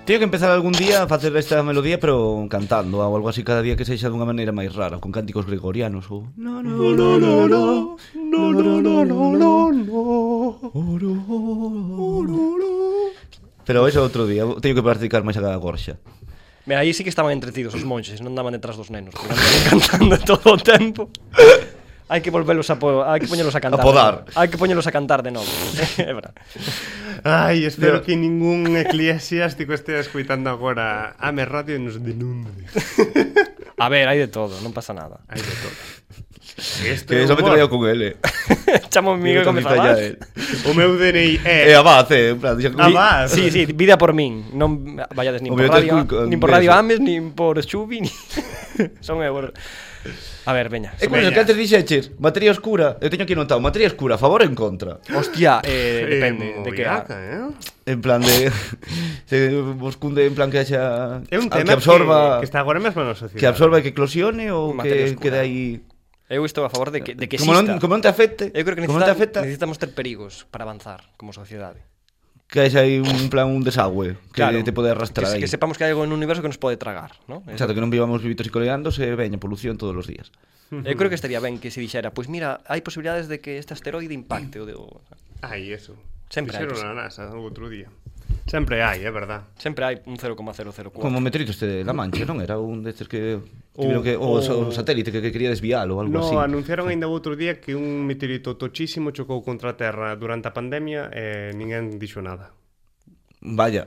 Speaker 2: Teño que empezar algún día a facer esta melodía pero cantando ou algo así cada día que sexa dunha maneira máis rara, con cánticos gregorianos ou No, no, no, no, no. No, no, no, no, no. Oro, oro. Pero eso outro día, teño que practicar máis a cada gorxa.
Speaker 3: Mira, aí sí que estaban entretidos os monxes, non andaban detrás dos nenos, porque andaban cantando todo o tempo. Hai que volvelos a po... hai que poñelos a
Speaker 2: A
Speaker 3: cantar.
Speaker 2: podar.
Speaker 3: de novo. Hai que poñelos a cantar de novo. É verdad.
Speaker 1: Ai, espero
Speaker 2: Pero-
Speaker 1: que ningún eclesiástico estea escuitando agora Ame Radio e nos denunde.
Speaker 3: a ver, hai de todo, non pasa nada.
Speaker 1: Ai, de todo. Este
Speaker 2: Que
Speaker 1: é
Speaker 2: eso me
Speaker 1: humor.
Speaker 2: traía con ele.
Speaker 3: Chamo a mi amigo que me falabas.
Speaker 1: O meu DNI é...
Speaker 2: É Eh, a base, en plan, xa,
Speaker 1: Ah, va. Vas.
Speaker 3: Sí, sí, vida por min, non vayades nin
Speaker 2: O
Speaker 3: por
Speaker 2: mellor tes
Speaker 3: radio,
Speaker 2: cun-
Speaker 3: nin por
Speaker 2: beso.
Speaker 3: radio Ames, nin por Xubi, nin... son eu. bueno. A ver, veña.
Speaker 2: É como
Speaker 1: Veña.
Speaker 2: Eh, que antes dixeches, materia oscura, eu teño aquí notado, materia oscura, a favor ou en contra.
Speaker 3: Hostia,
Speaker 1: Eh,
Speaker 3: eh, depende de que
Speaker 1: moviaca, eh?
Speaker 2: En plan de se vos cunde en plan que haxa
Speaker 1: É un
Speaker 2: a-
Speaker 1: tema
Speaker 2: que absorba
Speaker 1: que, que está agora mesmo na sociedade.
Speaker 2: que absorba e que eclosione ou
Speaker 3: Materia
Speaker 2: que quede
Speaker 3: oscura.
Speaker 2: aí
Speaker 3: Eu estou a favor de que, de que
Speaker 2: como
Speaker 3: exista.
Speaker 2: non, como non te afecte
Speaker 3: Eu creo que
Speaker 2: como non te
Speaker 3: necesitamos,
Speaker 2: afecta
Speaker 3: necesitamos ter perigos para avanzar como sociedade.
Speaker 2: que haxa aí un plan un desagüe que te pode arrastrar
Speaker 3: que,
Speaker 2: aí
Speaker 3: se- Que sepamos que hai algo no universo que nos pode tragar, ¿no? Eh,
Speaker 2: Exacto, que non vivamos vivitos e coleando se veña polución todos os días
Speaker 3: Eu creo que estaría ben que se dixera, pois pues mira, hai posibilidades de que este asteroide impacte o de o...
Speaker 1: Ai, eso.
Speaker 3: Sempre hai.
Speaker 1: Fixeron
Speaker 3: presión.
Speaker 1: na NASA outro día. Sempre hai, é verdad.
Speaker 3: Sempre hai un 0,004.
Speaker 2: Como o meteorito este de La Mancha, non? Era un destes que... Tiveron que
Speaker 1: o-
Speaker 2: o, o satélite que, que quería desviar ou algo
Speaker 1: Uh, No,
Speaker 2: así.
Speaker 1: anunciaron ainda outro día que un meteorito tochísimo chocou contra a Terra durante a pandemia e ninguén dixo nada.
Speaker 2: Vaya.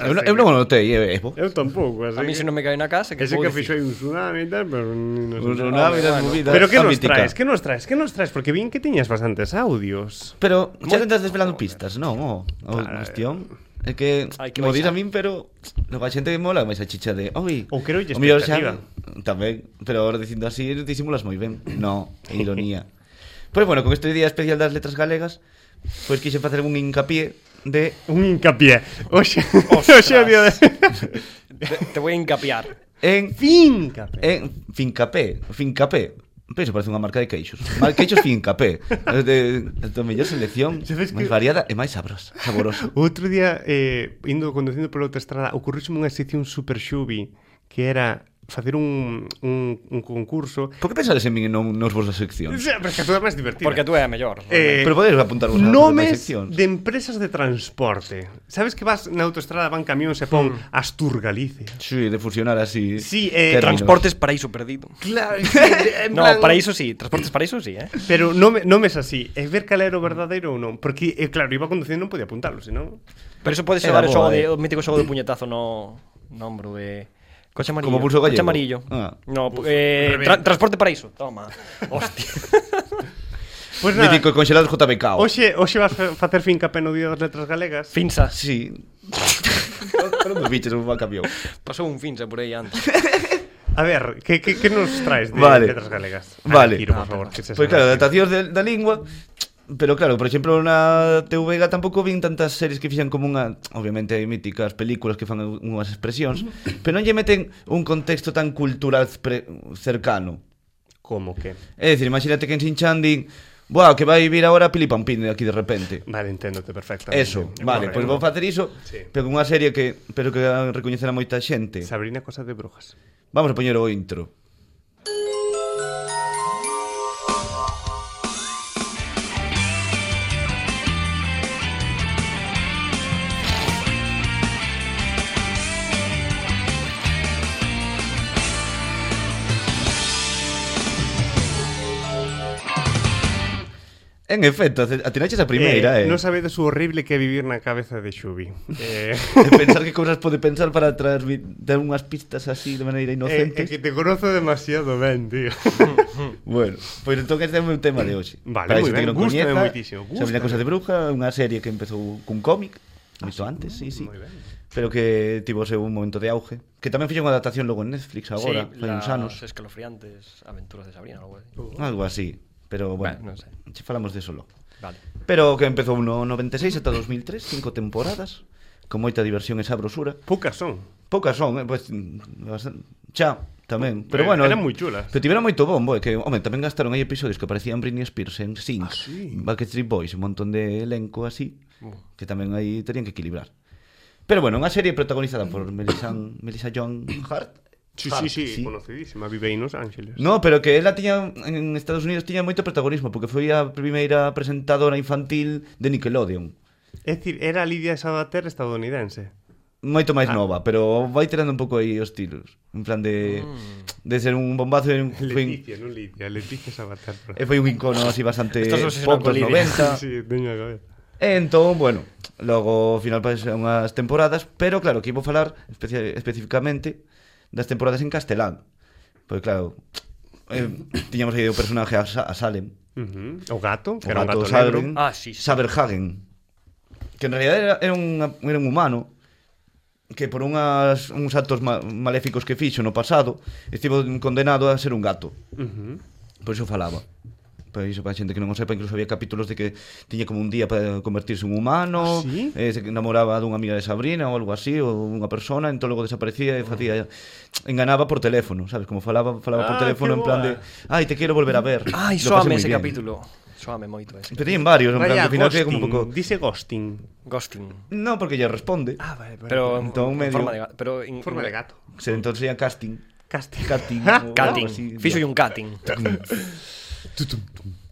Speaker 2: Eu, non- eu non o notei, eh, é, é bo.
Speaker 1: Ah, Eu tampouco, así
Speaker 3: A mí se non me cae na casa, que
Speaker 1: Ese
Speaker 3: vou
Speaker 1: que
Speaker 3: dicir?
Speaker 1: fixo aí un tsunami e tal, pero nin- non sei.
Speaker 2: Tsunami das movidas,
Speaker 1: Pero que
Speaker 2: a
Speaker 1: nos
Speaker 2: mítica.
Speaker 1: traes? Que nos traes? Que nos traes? Porque vin que tiñas bastantes audios.
Speaker 2: Pero xa
Speaker 3: Moi- eh.
Speaker 2: tentas desvelando pistas, non? O, o cuestión é que,
Speaker 3: Hai
Speaker 2: que
Speaker 3: que
Speaker 2: mo dis a
Speaker 3: baixar.
Speaker 2: min, pero logo a xente mola máis a chicha de, oi,
Speaker 1: Ou creo que
Speaker 2: o mellor
Speaker 1: expectativa.
Speaker 2: tamén, pero agora dicindo así disimulas moi ben. No, é ironía. pois bueno, con este día especial das letras galegas, pois quixen facer un hincapié de
Speaker 1: Un hincapié. Oxe, oxe o día de...
Speaker 3: Te, te vou a encapiar.
Speaker 2: en
Speaker 1: Fincapié.
Speaker 2: en Fincapé, Fincapé. Penso parece unha marca de queixos. Mar queixos Fincapé. É de, de mellor selección,
Speaker 1: Sabes
Speaker 2: máis
Speaker 1: que-
Speaker 2: variada e máis sabrosa, saborosa.
Speaker 1: Outro día, eh, indo conducindo pola autoestrada, ocorreuxeme unha sección super xubi que era facer un, un, un concurso.
Speaker 2: Por que pensades en min e non nos vosas seccións?
Speaker 1: Xa, Pero es que a túa é máis divertida.
Speaker 3: Porque tú é a mellor.
Speaker 1: Eh,
Speaker 2: Pero podedes apuntar vos
Speaker 1: Nomes de
Speaker 2: de...
Speaker 1: empresas de transporte. Sabes que vas na autoestrada, van camións e pon
Speaker 2: Hmm.
Speaker 1: Astur Galicia.
Speaker 2: Sí, de fusionar así.
Speaker 1: Sí, eh,
Speaker 2: términos.
Speaker 3: Transportes paraíso perdido.
Speaker 1: Claro, en
Speaker 3: No, paraíso sí, transportes paraíso sí, eh.
Speaker 1: Pero nome, nomes así, e ver cal era o verdadeiro ou non Porque, eh, claro, iba conducindo e non podía apuntalo, senón
Speaker 3: Pero eso pode
Speaker 2: Era
Speaker 3: xogar o
Speaker 2: boa,
Speaker 3: xogo
Speaker 2: eh.
Speaker 3: de, o mítico xogo de puñetazo no no ombro de coche amarillo.
Speaker 2: Como pulso
Speaker 3: Coche
Speaker 2: gallego.
Speaker 3: amarillo.
Speaker 2: Ah.
Speaker 3: No, eh,
Speaker 1: revés.
Speaker 3: tra transporte paraíso. Toma. Hostia.
Speaker 1: Pois nada,
Speaker 2: Mítico conxelados JBK.
Speaker 1: hoxe, hoxe vas fa- facer finca peno día das letras galegas
Speaker 3: Finsa.
Speaker 2: Sí. Pero non biches un camión.
Speaker 3: Pasou un finsa por aí antes.
Speaker 1: A ver, que, que, que nos traes de
Speaker 2: Vale.
Speaker 1: letras galegas?
Speaker 2: Vale.
Speaker 1: Ana Quiro, por
Speaker 3: Ah,
Speaker 1: favor,
Speaker 3: perdón.
Speaker 1: que se
Speaker 2: Pois claro, adaptacións de- da lingua Pero claro, por exemplo, na TV tampouco vin tantas series que fixan como unha Obviamente hai míticas películas que fan unhas expresións Pero non lle meten un contexto tan cultural pre- cercano
Speaker 1: Como que?
Speaker 2: É dicir, imagínate que en Sinchan din Buah, que vai vir agora Pili Pampín de aquí de repente
Speaker 1: Vale, enténdote perfectamente
Speaker 2: Eso, vale, pois
Speaker 1: Correcto.
Speaker 2: vou facer iso
Speaker 1: Sí.
Speaker 2: Pero con unha serie que pero que a recoñecer a moita xente
Speaker 1: Sabrina Cosa de Brujas
Speaker 2: Vamos a poñer o intro En efecto, atinaches a primeira, eh,
Speaker 1: Non sabedes o horrible que é vivir na cabeza de Xubi Eh...
Speaker 2: E pensar que cousas pode pensar para transmitir dar unhas pistas así de maneira
Speaker 1: É,
Speaker 2: inocente.
Speaker 1: é eh, que te conozo demasiado ben, tío
Speaker 2: Bueno, pois entón este é o meu tema de hoxe.
Speaker 1: Vale,
Speaker 2: Para
Speaker 1: moi
Speaker 2: iso que
Speaker 1: ben,
Speaker 2: non
Speaker 1: gústame
Speaker 2: coñeza,
Speaker 1: moitísimo,
Speaker 2: Sobre
Speaker 1: gústame. Ah,
Speaker 2: a cosa de bruja, unha serie que empezou cun cómic, moito antes, sí, sí.
Speaker 1: mm, moi ben.
Speaker 2: Pero que tivo o seu un momento de auge, que tamén fixo unha adaptación logo en Netflix agora,
Speaker 3: sí,
Speaker 2: fai uns
Speaker 3: las
Speaker 2: anos,
Speaker 3: escalofriantes aventuras de Sabrina, algo así.
Speaker 2: algo así. Pero bueno,
Speaker 3: Bueno, non sei.
Speaker 2: che falamos de solo.
Speaker 3: Vale.
Speaker 2: Pero que empezou no 96 ata 2003, cinco temporadas, con moita diversión e sabrosura.
Speaker 1: Poucas son
Speaker 2: Poucas son, eh, pois bastan- xa tamén,
Speaker 1: Eh,
Speaker 2: pero bueno,
Speaker 1: eran moi chulas.
Speaker 2: Pero tiveron moito bombo, é que, home, tamén gastaron aí episodios que aparecían Britney Spears en Sync, ah,
Speaker 1: sí?
Speaker 2: Backstreet Boys, un montón de elenco así, que tamén aí terían que equilibrar. Pero bueno, unha serie protagonizada por Melissa, Melissa John Hart.
Speaker 1: Sí,
Speaker 2: Hart,
Speaker 1: sí, sí, conocidísima Vive aí nos Ángeles
Speaker 2: No, pero que ela tiña en Estados Unidos tiña moito protagonismo porque foi a primeira presentadora infantil de Nickelodeon.
Speaker 1: É dicir, era a Lidia Sabater estadounidense.
Speaker 2: moito
Speaker 1: Ah.
Speaker 2: máis nova, pero vai tirando un pouco aí os tiros, en plan de
Speaker 1: Mm.
Speaker 2: de ser un bombazo e un foi un,
Speaker 1: Leticia, non Lidia, Leticia Sabater.
Speaker 2: e foi un icono así bastante
Speaker 3: Estás obsesionado
Speaker 2: pop
Speaker 3: con
Speaker 2: dos
Speaker 3: Lidia.
Speaker 2: 90.
Speaker 1: sí, teño a cabeza.
Speaker 2: E entón, bueno, logo ao final pasan unhas temporadas, pero claro, que vou falar especia- especificamente das temporadas en castelán. Pois claro, eh, tiñamos aí o personaje a, Sa- a Salem,
Speaker 1: Uh -huh. O gato, que
Speaker 2: o
Speaker 1: era un
Speaker 2: gato
Speaker 1: gato
Speaker 2: Salem,
Speaker 1: negro.
Speaker 3: Ah, sí, sí.
Speaker 2: Saberhagen, que en realidad era, era, un, era un humano que por unhas, uns actos ma, maléficos que fixo no pasado estivo condenado a ser un gato.
Speaker 1: Uh -huh.
Speaker 2: Por iso falaba. Por iso, para a xente que non o sepa, incluso había capítulos de que tiña como un día para convertirse en
Speaker 1: Ah,
Speaker 2: humano,
Speaker 1: sí?
Speaker 2: eh, se namoraba dunha amiga de Sabrina ou algo así, ou unha persona, entón logo desaparecía e facía enganaba por teléfono, sabes, como falaba falaba por
Speaker 1: Ah,
Speaker 2: teléfono
Speaker 1: que
Speaker 2: en plan
Speaker 1: boa.
Speaker 2: de, "Ai, te quero volver a ver."
Speaker 3: Ai,
Speaker 2: Lo pasei
Speaker 3: soame
Speaker 2: moi
Speaker 3: Ah, ese
Speaker 2: bien.
Speaker 3: capítulo. Soame moito ese.
Speaker 2: Pero tiñen varios, en plan,
Speaker 1: Vaya,
Speaker 2: que ao final que
Speaker 1: ghosting,
Speaker 2: como un pouco
Speaker 1: dice ghosting.
Speaker 3: Ghosting.
Speaker 2: No, porque ella responde.
Speaker 1: Ah, vale, vale.
Speaker 3: Pero
Speaker 2: Entón,
Speaker 3: en
Speaker 2: medio-
Speaker 3: forma de ga- pero en
Speaker 1: Forma de gato.
Speaker 2: Se entón sería casting.
Speaker 1: Casting.
Speaker 2: Cutting. ou algo así.
Speaker 3: Cutting. Fixo un cutting.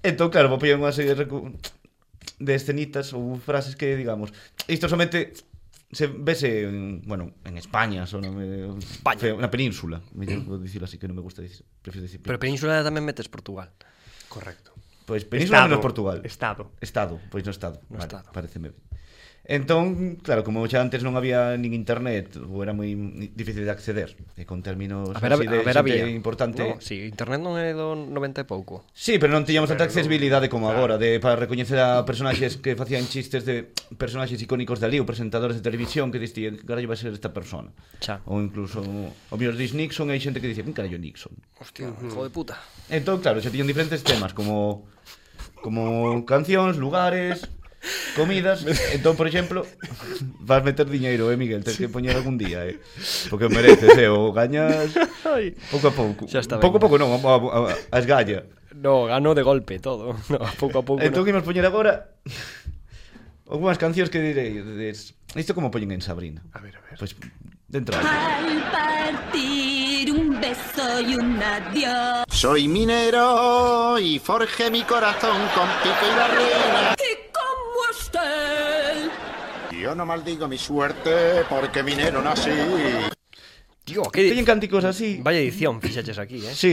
Speaker 2: Entón, claro, vou pillar unha serie de recu... de escenitas ou frases que digamos, isto somente se vese en, bueno, en España, son en
Speaker 3: España.
Speaker 2: España. na península, mellor vou dicilo así que non me gusta dicir, prefiro dicir.
Speaker 3: Pero Península tamén metes Portugal.
Speaker 1: Correcto.
Speaker 2: Pois Península
Speaker 1: Estado.
Speaker 2: menos Portugal.
Speaker 1: Estado.
Speaker 2: Estado, pois no Estado.
Speaker 3: No
Speaker 2: vale,
Speaker 3: Estado.
Speaker 2: Pareceme ben. Entón, claro, como xa antes non había nin internet, ou era moi difícil de acceder, e con términos
Speaker 3: A ver, a,
Speaker 2: así de
Speaker 3: a ver
Speaker 2: xente
Speaker 3: había.
Speaker 2: importante...
Speaker 3: No, sí, internet non é do 90 e pouco.
Speaker 2: Sí, pero non tiñamos
Speaker 1: Pero
Speaker 2: tanta
Speaker 1: non-
Speaker 2: accesibilidade como
Speaker 1: claro.
Speaker 2: agora de para recoñecer a personaxes que facían chistes de personaxes icónicos dali ou presentadores de televisión que distían que carallo vai ser esta persona.
Speaker 3: Xa.
Speaker 2: Ou incluso o mellor dis Nixon e hai xente que dicía, "Quen carallo é Nixon?"
Speaker 3: Hostia, hijo de puta.
Speaker 2: Entón, claro, xa tiñan diferentes temas como como cancións, lugares, comidas. Entón, por exemplo, vas meter diñeiro, eh, Miguel, tens que poñer algún día, eh. Porque o mereces, eh, o gañas pouco a pouco.
Speaker 3: Xa está ben.
Speaker 2: pouco a pouco non, a, a, a, a esgalla.
Speaker 3: No, gano de golpe todo. No, pouco a pouco.
Speaker 2: Entón
Speaker 3: no.
Speaker 2: que imos poñer agora Algúnas cancións que direi des- Isto como poñen en Sabrina
Speaker 1: A ver, a ver.
Speaker 2: Pois dentro
Speaker 7: Ah,
Speaker 6: Al partir un beso y un adiós.
Speaker 8: Soy minero y forjé mi corazón con pico y barrera.
Speaker 6: Y como este. usted.
Speaker 8: Yo no maldigo mi suerte porque minero nací.
Speaker 3: Tío, que
Speaker 2: Teñen cánticos así
Speaker 3: Vaya edición fixaches aquí, eh.
Speaker 2: Si,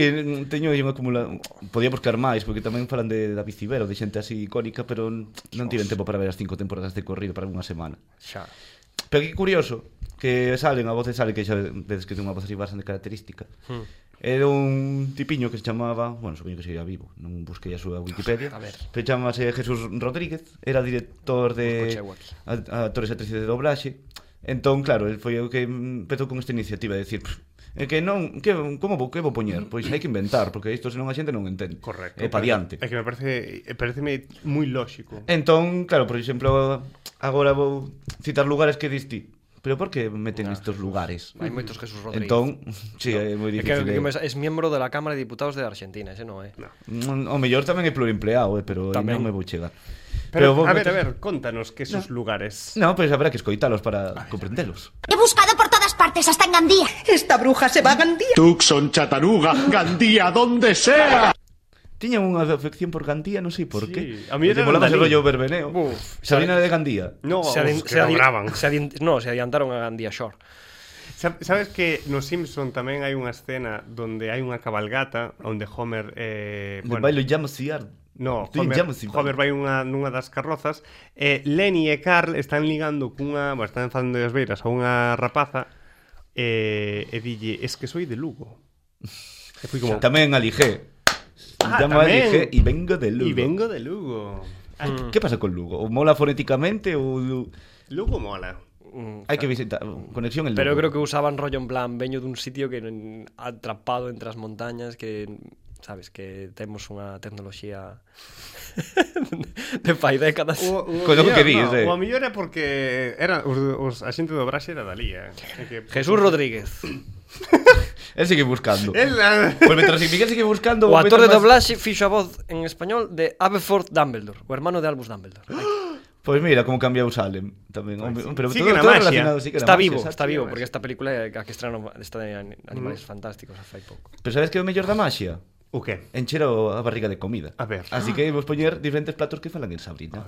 Speaker 2: teño aí un acumula Podía buscar máis porque tamén falan de David Civero De xente así icónica Pero non tiven tempo para ver as cinco temporadas de corrido Para unha semana
Speaker 3: Xa.
Speaker 2: Pero que curioso que salen, a voz sale que xa vedes que ten unha voz así bastante característica. Hmm. Era un tipiño que se chamaba, bueno, supoño que sería vivo, non busquei a súa Wikipedia.
Speaker 3: A ver.
Speaker 2: Pero chamase Jesús Rodríguez, era director de
Speaker 3: Busco chego aquí.
Speaker 2: a- a actores e actrices de doblaxe. Entón, claro, el foi o que empezou con esta iniciativa de decir, "Pff, é que non, que como vou, que vou poñer? Pois hai que inventar, porque isto senón a xente non entende.
Speaker 1: Correcto.
Speaker 2: E pa diante.
Speaker 1: É que me parece, eh, pareceme moi lóxico.
Speaker 2: Entón, claro, por exemplo, agora vou citar lugares que diste. Pero por
Speaker 1: Ah,
Speaker 2: que meten estos lugares?
Speaker 3: Hai moitos Jesús Rodríguez.
Speaker 2: Entón, si, sí, é moi
Speaker 3: É
Speaker 2: difícil.
Speaker 3: que, que
Speaker 2: eh.
Speaker 3: mes- es miembro de la Cámara de Diputados de Argentina, ese eh. non é.
Speaker 1: No.
Speaker 2: Mm, O mellor tamén é pluriempleado, eh, pero
Speaker 3: Tamén.
Speaker 2: tamén. non me vou chegar.
Speaker 1: Pero,
Speaker 2: vou
Speaker 1: a ver,
Speaker 2: meter-
Speaker 1: a ver, contanos que esos lugares.
Speaker 2: No, pois habrá que escoitalos para comprendelos.
Speaker 7: He buscado por todas partes, hasta en Gandía.
Speaker 9: Esta bruja se va a Gandía.
Speaker 8: Tucson, Chataruga, Gandía, donde sea.
Speaker 2: Tiña unha afección por Gandía, non sei por
Speaker 1: Sí,
Speaker 2: qué.
Speaker 1: a mí era
Speaker 2: Te molaba ese
Speaker 1: Dalí.
Speaker 2: rollo verbeneo.
Speaker 3: Buf,
Speaker 2: Sabrina de Gandía.
Speaker 1: No,
Speaker 3: se, adin-
Speaker 1: os que
Speaker 3: se, adi-
Speaker 1: lograban.
Speaker 3: se adin- no, se adiantaron a Gandía Shore.
Speaker 1: Sa- Sabes que nos Simpson tamén hai unha escena donde hai unha cabalgata onde Homer eh,
Speaker 2: Bueno. Bailo llamo Ciar.
Speaker 1: No,
Speaker 2: Ti
Speaker 1: Homer,
Speaker 2: llamas, sí,
Speaker 1: Homer vai unha, nunha das carrozas e Lenny e Carl están ligando cunha, bueno, están falando de as beiras a unha rapaza eh, e, e dille, es que soy de Lugo. E fui como,
Speaker 2: Tamén aligé.
Speaker 1: Ah,
Speaker 2: Llamo
Speaker 1: tamén.
Speaker 2: aligé e vengo de Lugo.
Speaker 1: y vengo de Lugo. Ah,
Speaker 2: Que pasa con Lugo? O mola fonéticamente ou
Speaker 1: Lugo mola.
Speaker 2: hai que visitar conexión en Lugo?
Speaker 3: Pero eu creo que usaban rollo en plan veño dun sitio que en- atrapado entre as montañas que sabes que temos unha tecnoloxía de fai décadas.
Speaker 1: O, o,
Speaker 2: Con lo que
Speaker 1: mellor,
Speaker 2: dis, eh.
Speaker 1: o a mellor é porque era, os, os, a xente do Braxe era Dalí, eh. É que,
Speaker 3: Jesús Rodríguez,
Speaker 2: Él sigue buscando.
Speaker 1: El, ah,
Speaker 2: Pues mientras que Miguel sigue buscando...
Speaker 3: o actor de
Speaker 2: metas más-
Speaker 3: doblaxe fixo a voz en español de Aberforth Dumbledore, o hermano de Albus Dumbledore.
Speaker 2: Pues mira, como cambiou Salem tamén. Hombre, pero
Speaker 1: Pues sí
Speaker 2: todo,
Speaker 1: que na
Speaker 2: todo
Speaker 1: maxia.
Speaker 2: relacionado, sí que na
Speaker 3: Está
Speaker 2: maxia,
Speaker 3: vivo,
Speaker 2: exacto.
Speaker 3: está vivo, porque esta película é a que estrano está de ani- animales fantásticos a fai pouco.
Speaker 2: Pero sabes que é o mellor da maxia?
Speaker 1: o que?
Speaker 2: Encher a barriga de comida.
Speaker 1: A ver.
Speaker 2: Así que vos poñer diferentes platos que falan en Sabrina.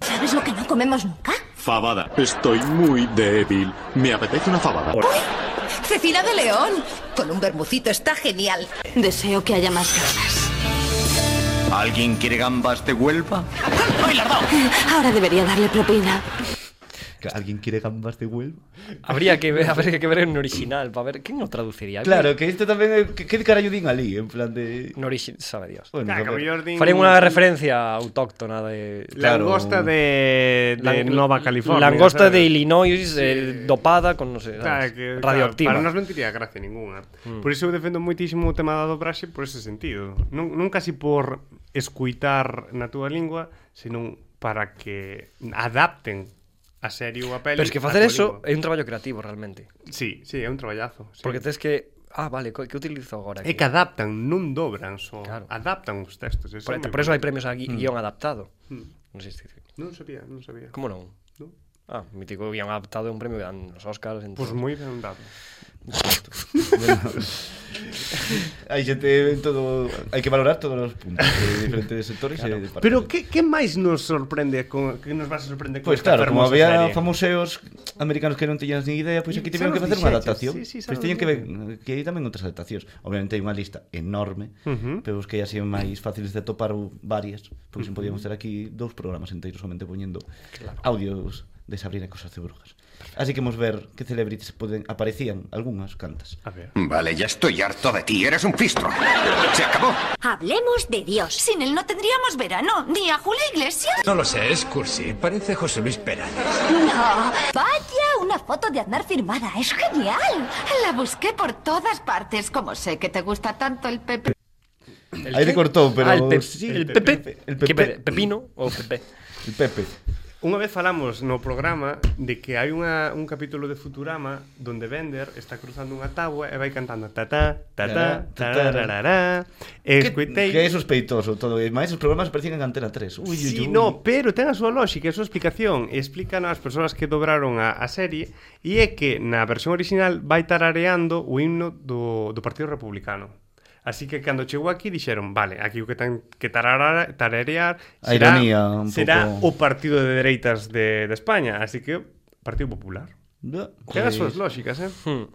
Speaker 7: ¿Sabes lo que no comemos nunca?
Speaker 8: Fabada. Estoy muy débil. Me apetece una fabada.
Speaker 9: Cecilia de León. Con un bermucito está genial.
Speaker 6: Deseo que haya más ganas.
Speaker 8: ¿Alguien quiere gambas de Huelva?
Speaker 6: Ahora debería darle propina.
Speaker 2: Que Alguén quere gambas de Huelva?
Speaker 3: Habría que ver, habría que ver en original para ver quen o traduciría.
Speaker 2: Claro, que isto tamén... é- Que, que carallo din ali? En plan de...
Speaker 3: en original, sabe Dios.
Speaker 2: Bueno,
Speaker 1: Ah, que a
Speaker 2: a ver.
Speaker 1: mellor din-
Speaker 3: Faré unha referencia autóctona de
Speaker 2: Claro.
Speaker 1: Langosta de, de
Speaker 3: Lang-
Speaker 1: Nova California.
Speaker 3: Langosta
Speaker 1: ¿sabes?
Speaker 3: de Illinois eh, dopada con, non sei,
Speaker 1: Claro,
Speaker 3: sabes,
Speaker 1: que, Claro,
Speaker 3: radioactiva.
Speaker 1: para nós non tiría gracia ninguna. Mm. Por iso eu defendo moitísimo o tema da dobraxe por ese sentido. Non, non casi por escuitar na túa lingua, senón para que adapten a serio a peli.
Speaker 3: Pero es que
Speaker 1: á
Speaker 3: facer
Speaker 1: túa
Speaker 3: eso
Speaker 1: lingua.
Speaker 3: é un traballo creativo realmente,
Speaker 1: Sí, sí, é un traballazo. Sí.
Speaker 3: porque tes que ah, vale, co- que utilizo agora
Speaker 1: É
Speaker 3: aquí?
Speaker 1: que adaptan, non dobran só.
Speaker 3: Claro.
Speaker 1: Claro. Adaptan os textos. Eso
Speaker 3: por,
Speaker 1: é moi
Speaker 3: por eso Mm. hai
Speaker 1: bonito.
Speaker 3: premios a
Speaker 2: Mm.
Speaker 3: gui- guión adaptado. Non sei se
Speaker 1: Non sabía, non sabía.
Speaker 3: como non.
Speaker 1: Non.
Speaker 3: Ah, mítico guión adaptado é un premio que dan nos Oscars,
Speaker 1: Pois
Speaker 3: entón.
Speaker 1: moi ben dado.
Speaker 2: Hai xente en todo, hai que valorar todos os puntos de diferentes sectores claro. e de partes.
Speaker 1: Pero que, que máis nos sorprende con, que nos vas a sorprender con
Speaker 2: Pois pues
Speaker 1: esta
Speaker 2: claro, como
Speaker 1: fermosa
Speaker 2: había
Speaker 1: serie? Mm,
Speaker 2: famoseos americanos que non tiñan ni idea, pois pues aquí
Speaker 1: Xa
Speaker 2: tiveron que
Speaker 1: nos
Speaker 2: facer unha
Speaker 1: dixeches,
Speaker 2: adaptación.
Speaker 1: sí, sí, xa
Speaker 2: pois
Speaker 1: nos
Speaker 2: tiñan que ver que hai tamén outras adaptacións. Obviamente hai unha lista enorme,
Speaker 1: Ujú.
Speaker 2: pero os que así máis fáciles de topar varias, porque se podíamos ter aquí dous programas enteiros somente poñendo audios de Sabrina e Cosas de Brujas. Así que vamos ver que celebrities poden aparecían algunhas cantas.
Speaker 1: A ver.
Speaker 10: Vale, ya estoy harto de ti. Eres un fistro. Se acabó.
Speaker 7: Hablemos de Dios.
Speaker 9: Sin él no tendríamos verano, ni a Julia Iglesias.
Speaker 10: No lo sé, es cursi. Parece José Luis Pérez.
Speaker 7: No.
Speaker 9: Vaya, una foto de Aznar firmada, es genial. La busqué por todas partes, como sé que te gusta tanto el Pepe.
Speaker 3: El
Speaker 2: Aí
Speaker 3: qué?
Speaker 2: le cortou, pero
Speaker 3: Ah, el, pep-
Speaker 2: sí,
Speaker 3: el Pepe.
Speaker 2: el
Speaker 3: Que
Speaker 2: Pepe.
Speaker 3: pe- Pepino ou Pepe.
Speaker 2: El Pepe.
Speaker 1: Unha vez falamos no programa de que hai unha, un capítulo de Futurama donde Bender está cruzando unha tabua e vai cantando tatá, tatá, tararará, e escoitei...
Speaker 2: Que é sospeitoso todo, e máis os programas parecían en Antena 3. Ui,
Speaker 1: Sí,
Speaker 2: ui, ui.
Speaker 1: no, pero ten a súa lógica e a súa explicación e explican as persoas que dobraron a, a serie e é que na versión original vai tarareando o himno do, do Partido Republicano. Así que cando chegou aquí dixeron, vale, aquí o que ten que tarara, tararear
Speaker 2: A
Speaker 1: será,
Speaker 2: ironía un
Speaker 1: será o
Speaker 2: pouco.
Speaker 1: Partido de Dereitas de, de España, así que Partido Popular.
Speaker 2: No,
Speaker 1: Ten as súas
Speaker 2: pois-
Speaker 1: lógicas, eh?
Speaker 3: Hmm.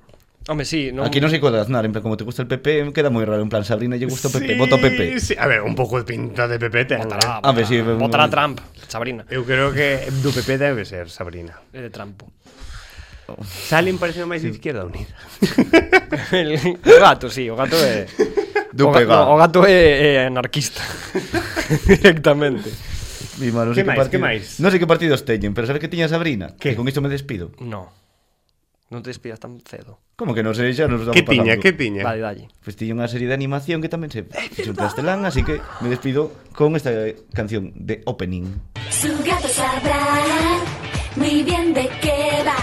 Speaker 3: Home, sí, non...
Speaker 2: Aquí non sei coda Aznar, en plan, como te gusta el PP, queda moi raro, en plan, Sabrina lle gusta o
Speaker 1: Sí,
Speaker 2: PP, voto PP.
Speaker 1: Sí. A ver, un pouco de pinta de PP ten. eh.
Speaker 3: Votará,
Speaker 2: A ver, Ah, pues sí, un-
Speaker 3: votará- votará Trump, Sabrina.
Speaker 1: Eu creo que do PP debe ser Sabrina.
Speaker 3: É de trampo.
Speaker 1: Salen parece máis de Izquierda Unida.
Speaker 3: El- o gato, sí, o gato é...
Speaker 2: Do
Speaker 3: o, ga-
Speaker 2: pegado.
Speaker 3: no, o gato é, é anarquista. Directamente.
Speaker 2: Mi mano, non sei
Speaker 1: Que máis, que
Speaker 2: partido-
Speaker 1: máis?
Speaker 2: Non sei que partidos teñen, pero sabe que tiña Sabrina?
Speaker 1: Que?
Speaker 2: Que con isto me despido.
Speaker 3: No. Non te despidas tan cedo.
Speaker 2: Como que non sei, xa nos estamos
Speaker 1: Que tiña,
Speaker 2: pasando.
Speaker 1: que tiña.
Speaker 3: Vale, dalle.
Speaker 2: Pois tiña unha serie de animación que tamén se fixo en castelán, así que me despido con esta canción de opening.
Speaker 7: Su gato sabrá muy bien de qué va.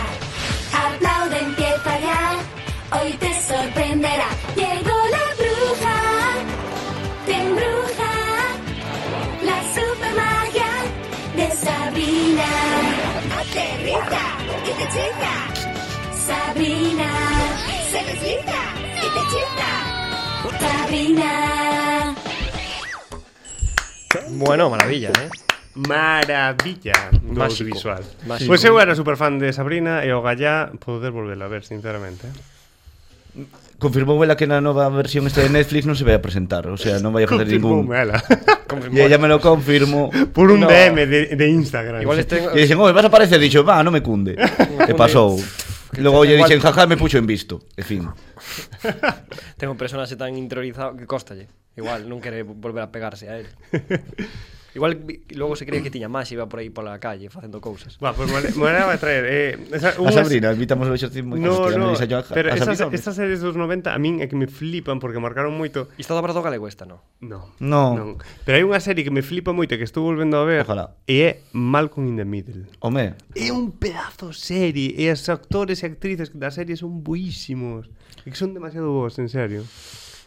Speaker 7: Aplaude, empieza ya. Hoy te sorprenderá. Llegó la bruja. Te embruja. La super magia de Sabrina. Aterriza y te chica. Sabrina. Se desliza y te chica. Sabrina.
Speaker 3: Bueno, maravilla, eh?
Speaker 1: Maravilla do
Speaker 3: Máxico.
Speaker 1: audiovisual.
Speaker 3: Máxico.
Speaker 1: Pois eu era superfan de Sabrina e o Gallá poder volvela a ver, sinceramente.
Speaker 2: Confirmou ela que na nova versión esta de Netflix non se vai a presentar, o sea, non vai a facer ningún...
Speaker 1: ela.
Speaker 2: E ella me lo confirmou.
Speaker 1: Por un
Speaker 3: No.
Speaker 1: DM de, de Instagram.
Speaker 3: Igual este...
Speaker 2: E dixen, oi, vas a aparecer? Dixo, va, non me cunde. e pasou.
Speaker 3: Que
Speaker 2: Logo lle
Speaker 3: igual-
Speaker 2: dixen, jaja, me puxo en visto. E fin.
Speaker 3: Ten un personaxe tan interiorizado que costalle. Igual non quere volver a pegarse a él. Igual vi- logo se creía que tiña máis e iba por aí pola calle facendo cousas.
Speaker 1: Guau, pues mole- molaba traer eh, esa,
Speaker 2: A
Speaker 1: unhas-
Speaker 2: Sabrina, invitamos a xertir moi
Speaker 1: No,
Speaker 2: hostia, me
Speaker 1: no,
Speaker 2: dixe yo,
Speaker 1: pero
Speaker 2: a
Speaker 1: esas,
Speaker 2: Sabrina, home.
Speaker 1: estas series dos 90 a min é que me flipan porque marcaron moito
Speaker 3: Isto da Brado Galego esta, non?
Speaker 1: No,
Speaker 2: No.
Speaker 1: non. Pero hai unha serie que me flipa moito e que estou volvendo a ver
Speaker 2: Ojalá.
Speaker 1: E é Malcolm in the Middle
Speaker 2: Home,
Speaker 1: É un pedazo serie E os actores e actrices da serie son buísimos E que son demasiado boas, en serio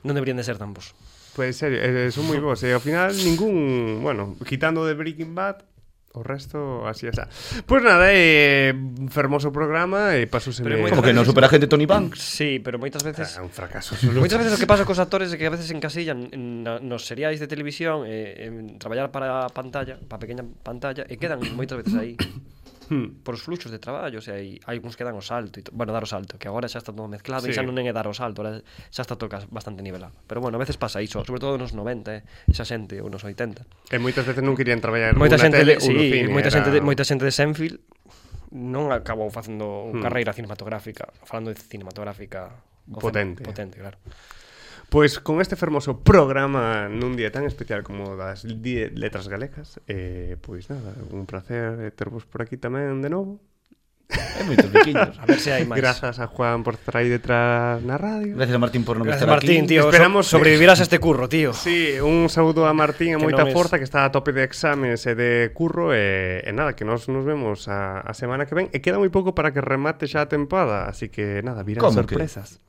Speaker 3: Non deberían de ser tan vos.
Speaker 1: Pois serio, eh, son moi bons e ao final ningún, bueno, quitando de Breaking Bad, o resto así está. Pois nada, eh, fermoso programa e paso se
Speaker 3: Pero é
Speaker 1: me...
Speaker 3: moi
Speaker 2: como que non supera a gente Tony Banks.
Speaker 3: Sí, pero moitas veces...
Speaker 1: Ah, un fracaso absoluto.
Speaker 3: Moitas veces o que pasa cos actores é que a veces encasillan na, nos seriais de televisión e en traballar para a pantalla, para a pequeña pantalla e quedan moitas veces aí
Speaker 1: Hmm.
Speaker 3: por os fluxos de traballo, o sea, hai, hai uns que dan o salto, e to- bueno, dar o salto, que agora xa está todo mezclado sí. e
Speaker 1: Sí.
Speaker 3: xa non é dar o salto, agora xa está tocas bastante nivelado. Pero bueno, a veces pasa iso, sobre todo nos 90, eh, xa xente ou nos 80.
Speaker 1: E moitas veces non querían traballar ou
Speaker 3: Moita
Speaker 1: na
Speaker 3: xente,
Speaker 1: tele
Speaker 3: de,
Speaker 1: ou no
Speaker 3: sí,
Speaker 1: cine,
Speaker 3: moita
Speaker 1: era-
Speaker 3: xente, de, moita xente de Senfield non acabou facendo
Speaker 1: Hmm.
Speaker 3: carreira cinematográfica, falando de cinematográfica o
Speaker 1: Potente.
Speaker 3: cin- potente, claro.
Speaker 1: Pois con este fermoso programa nun día tan especial como o das die- letras galegas, eh, pois nada, un placer eh, tervos por aquí tamén de novo.
Speaker 2: É moito pequeños.
Speaker 3: A ver se hai máis.
Speaker 1: Grazas a Juan por estar aí detrás na radio.
Speaker 2: Gracias a Martín por non
Speaker 3: Gracias,
Speaker 2: estar
Speaker 3: Martín,
Speaker 2: aquí.
Speaker 3: tío. So-
Speaker 1: Esperamos-
Speaker 3: sobrevivirás a este curro, tío.
Speaker 1: Sí, un saúdo a Martín e
Speaker 3: Que
Speaker 1: moita
Speaker 3: non es-
Speaker 1: forza que está a tope de exames e de curro e, e nada, que nos nos vemos a, a semana que ven e queda moi pouco para que remate xa a tempada así que nada, virán
Speaker 2: Como que?
Speaker 1: sorpresas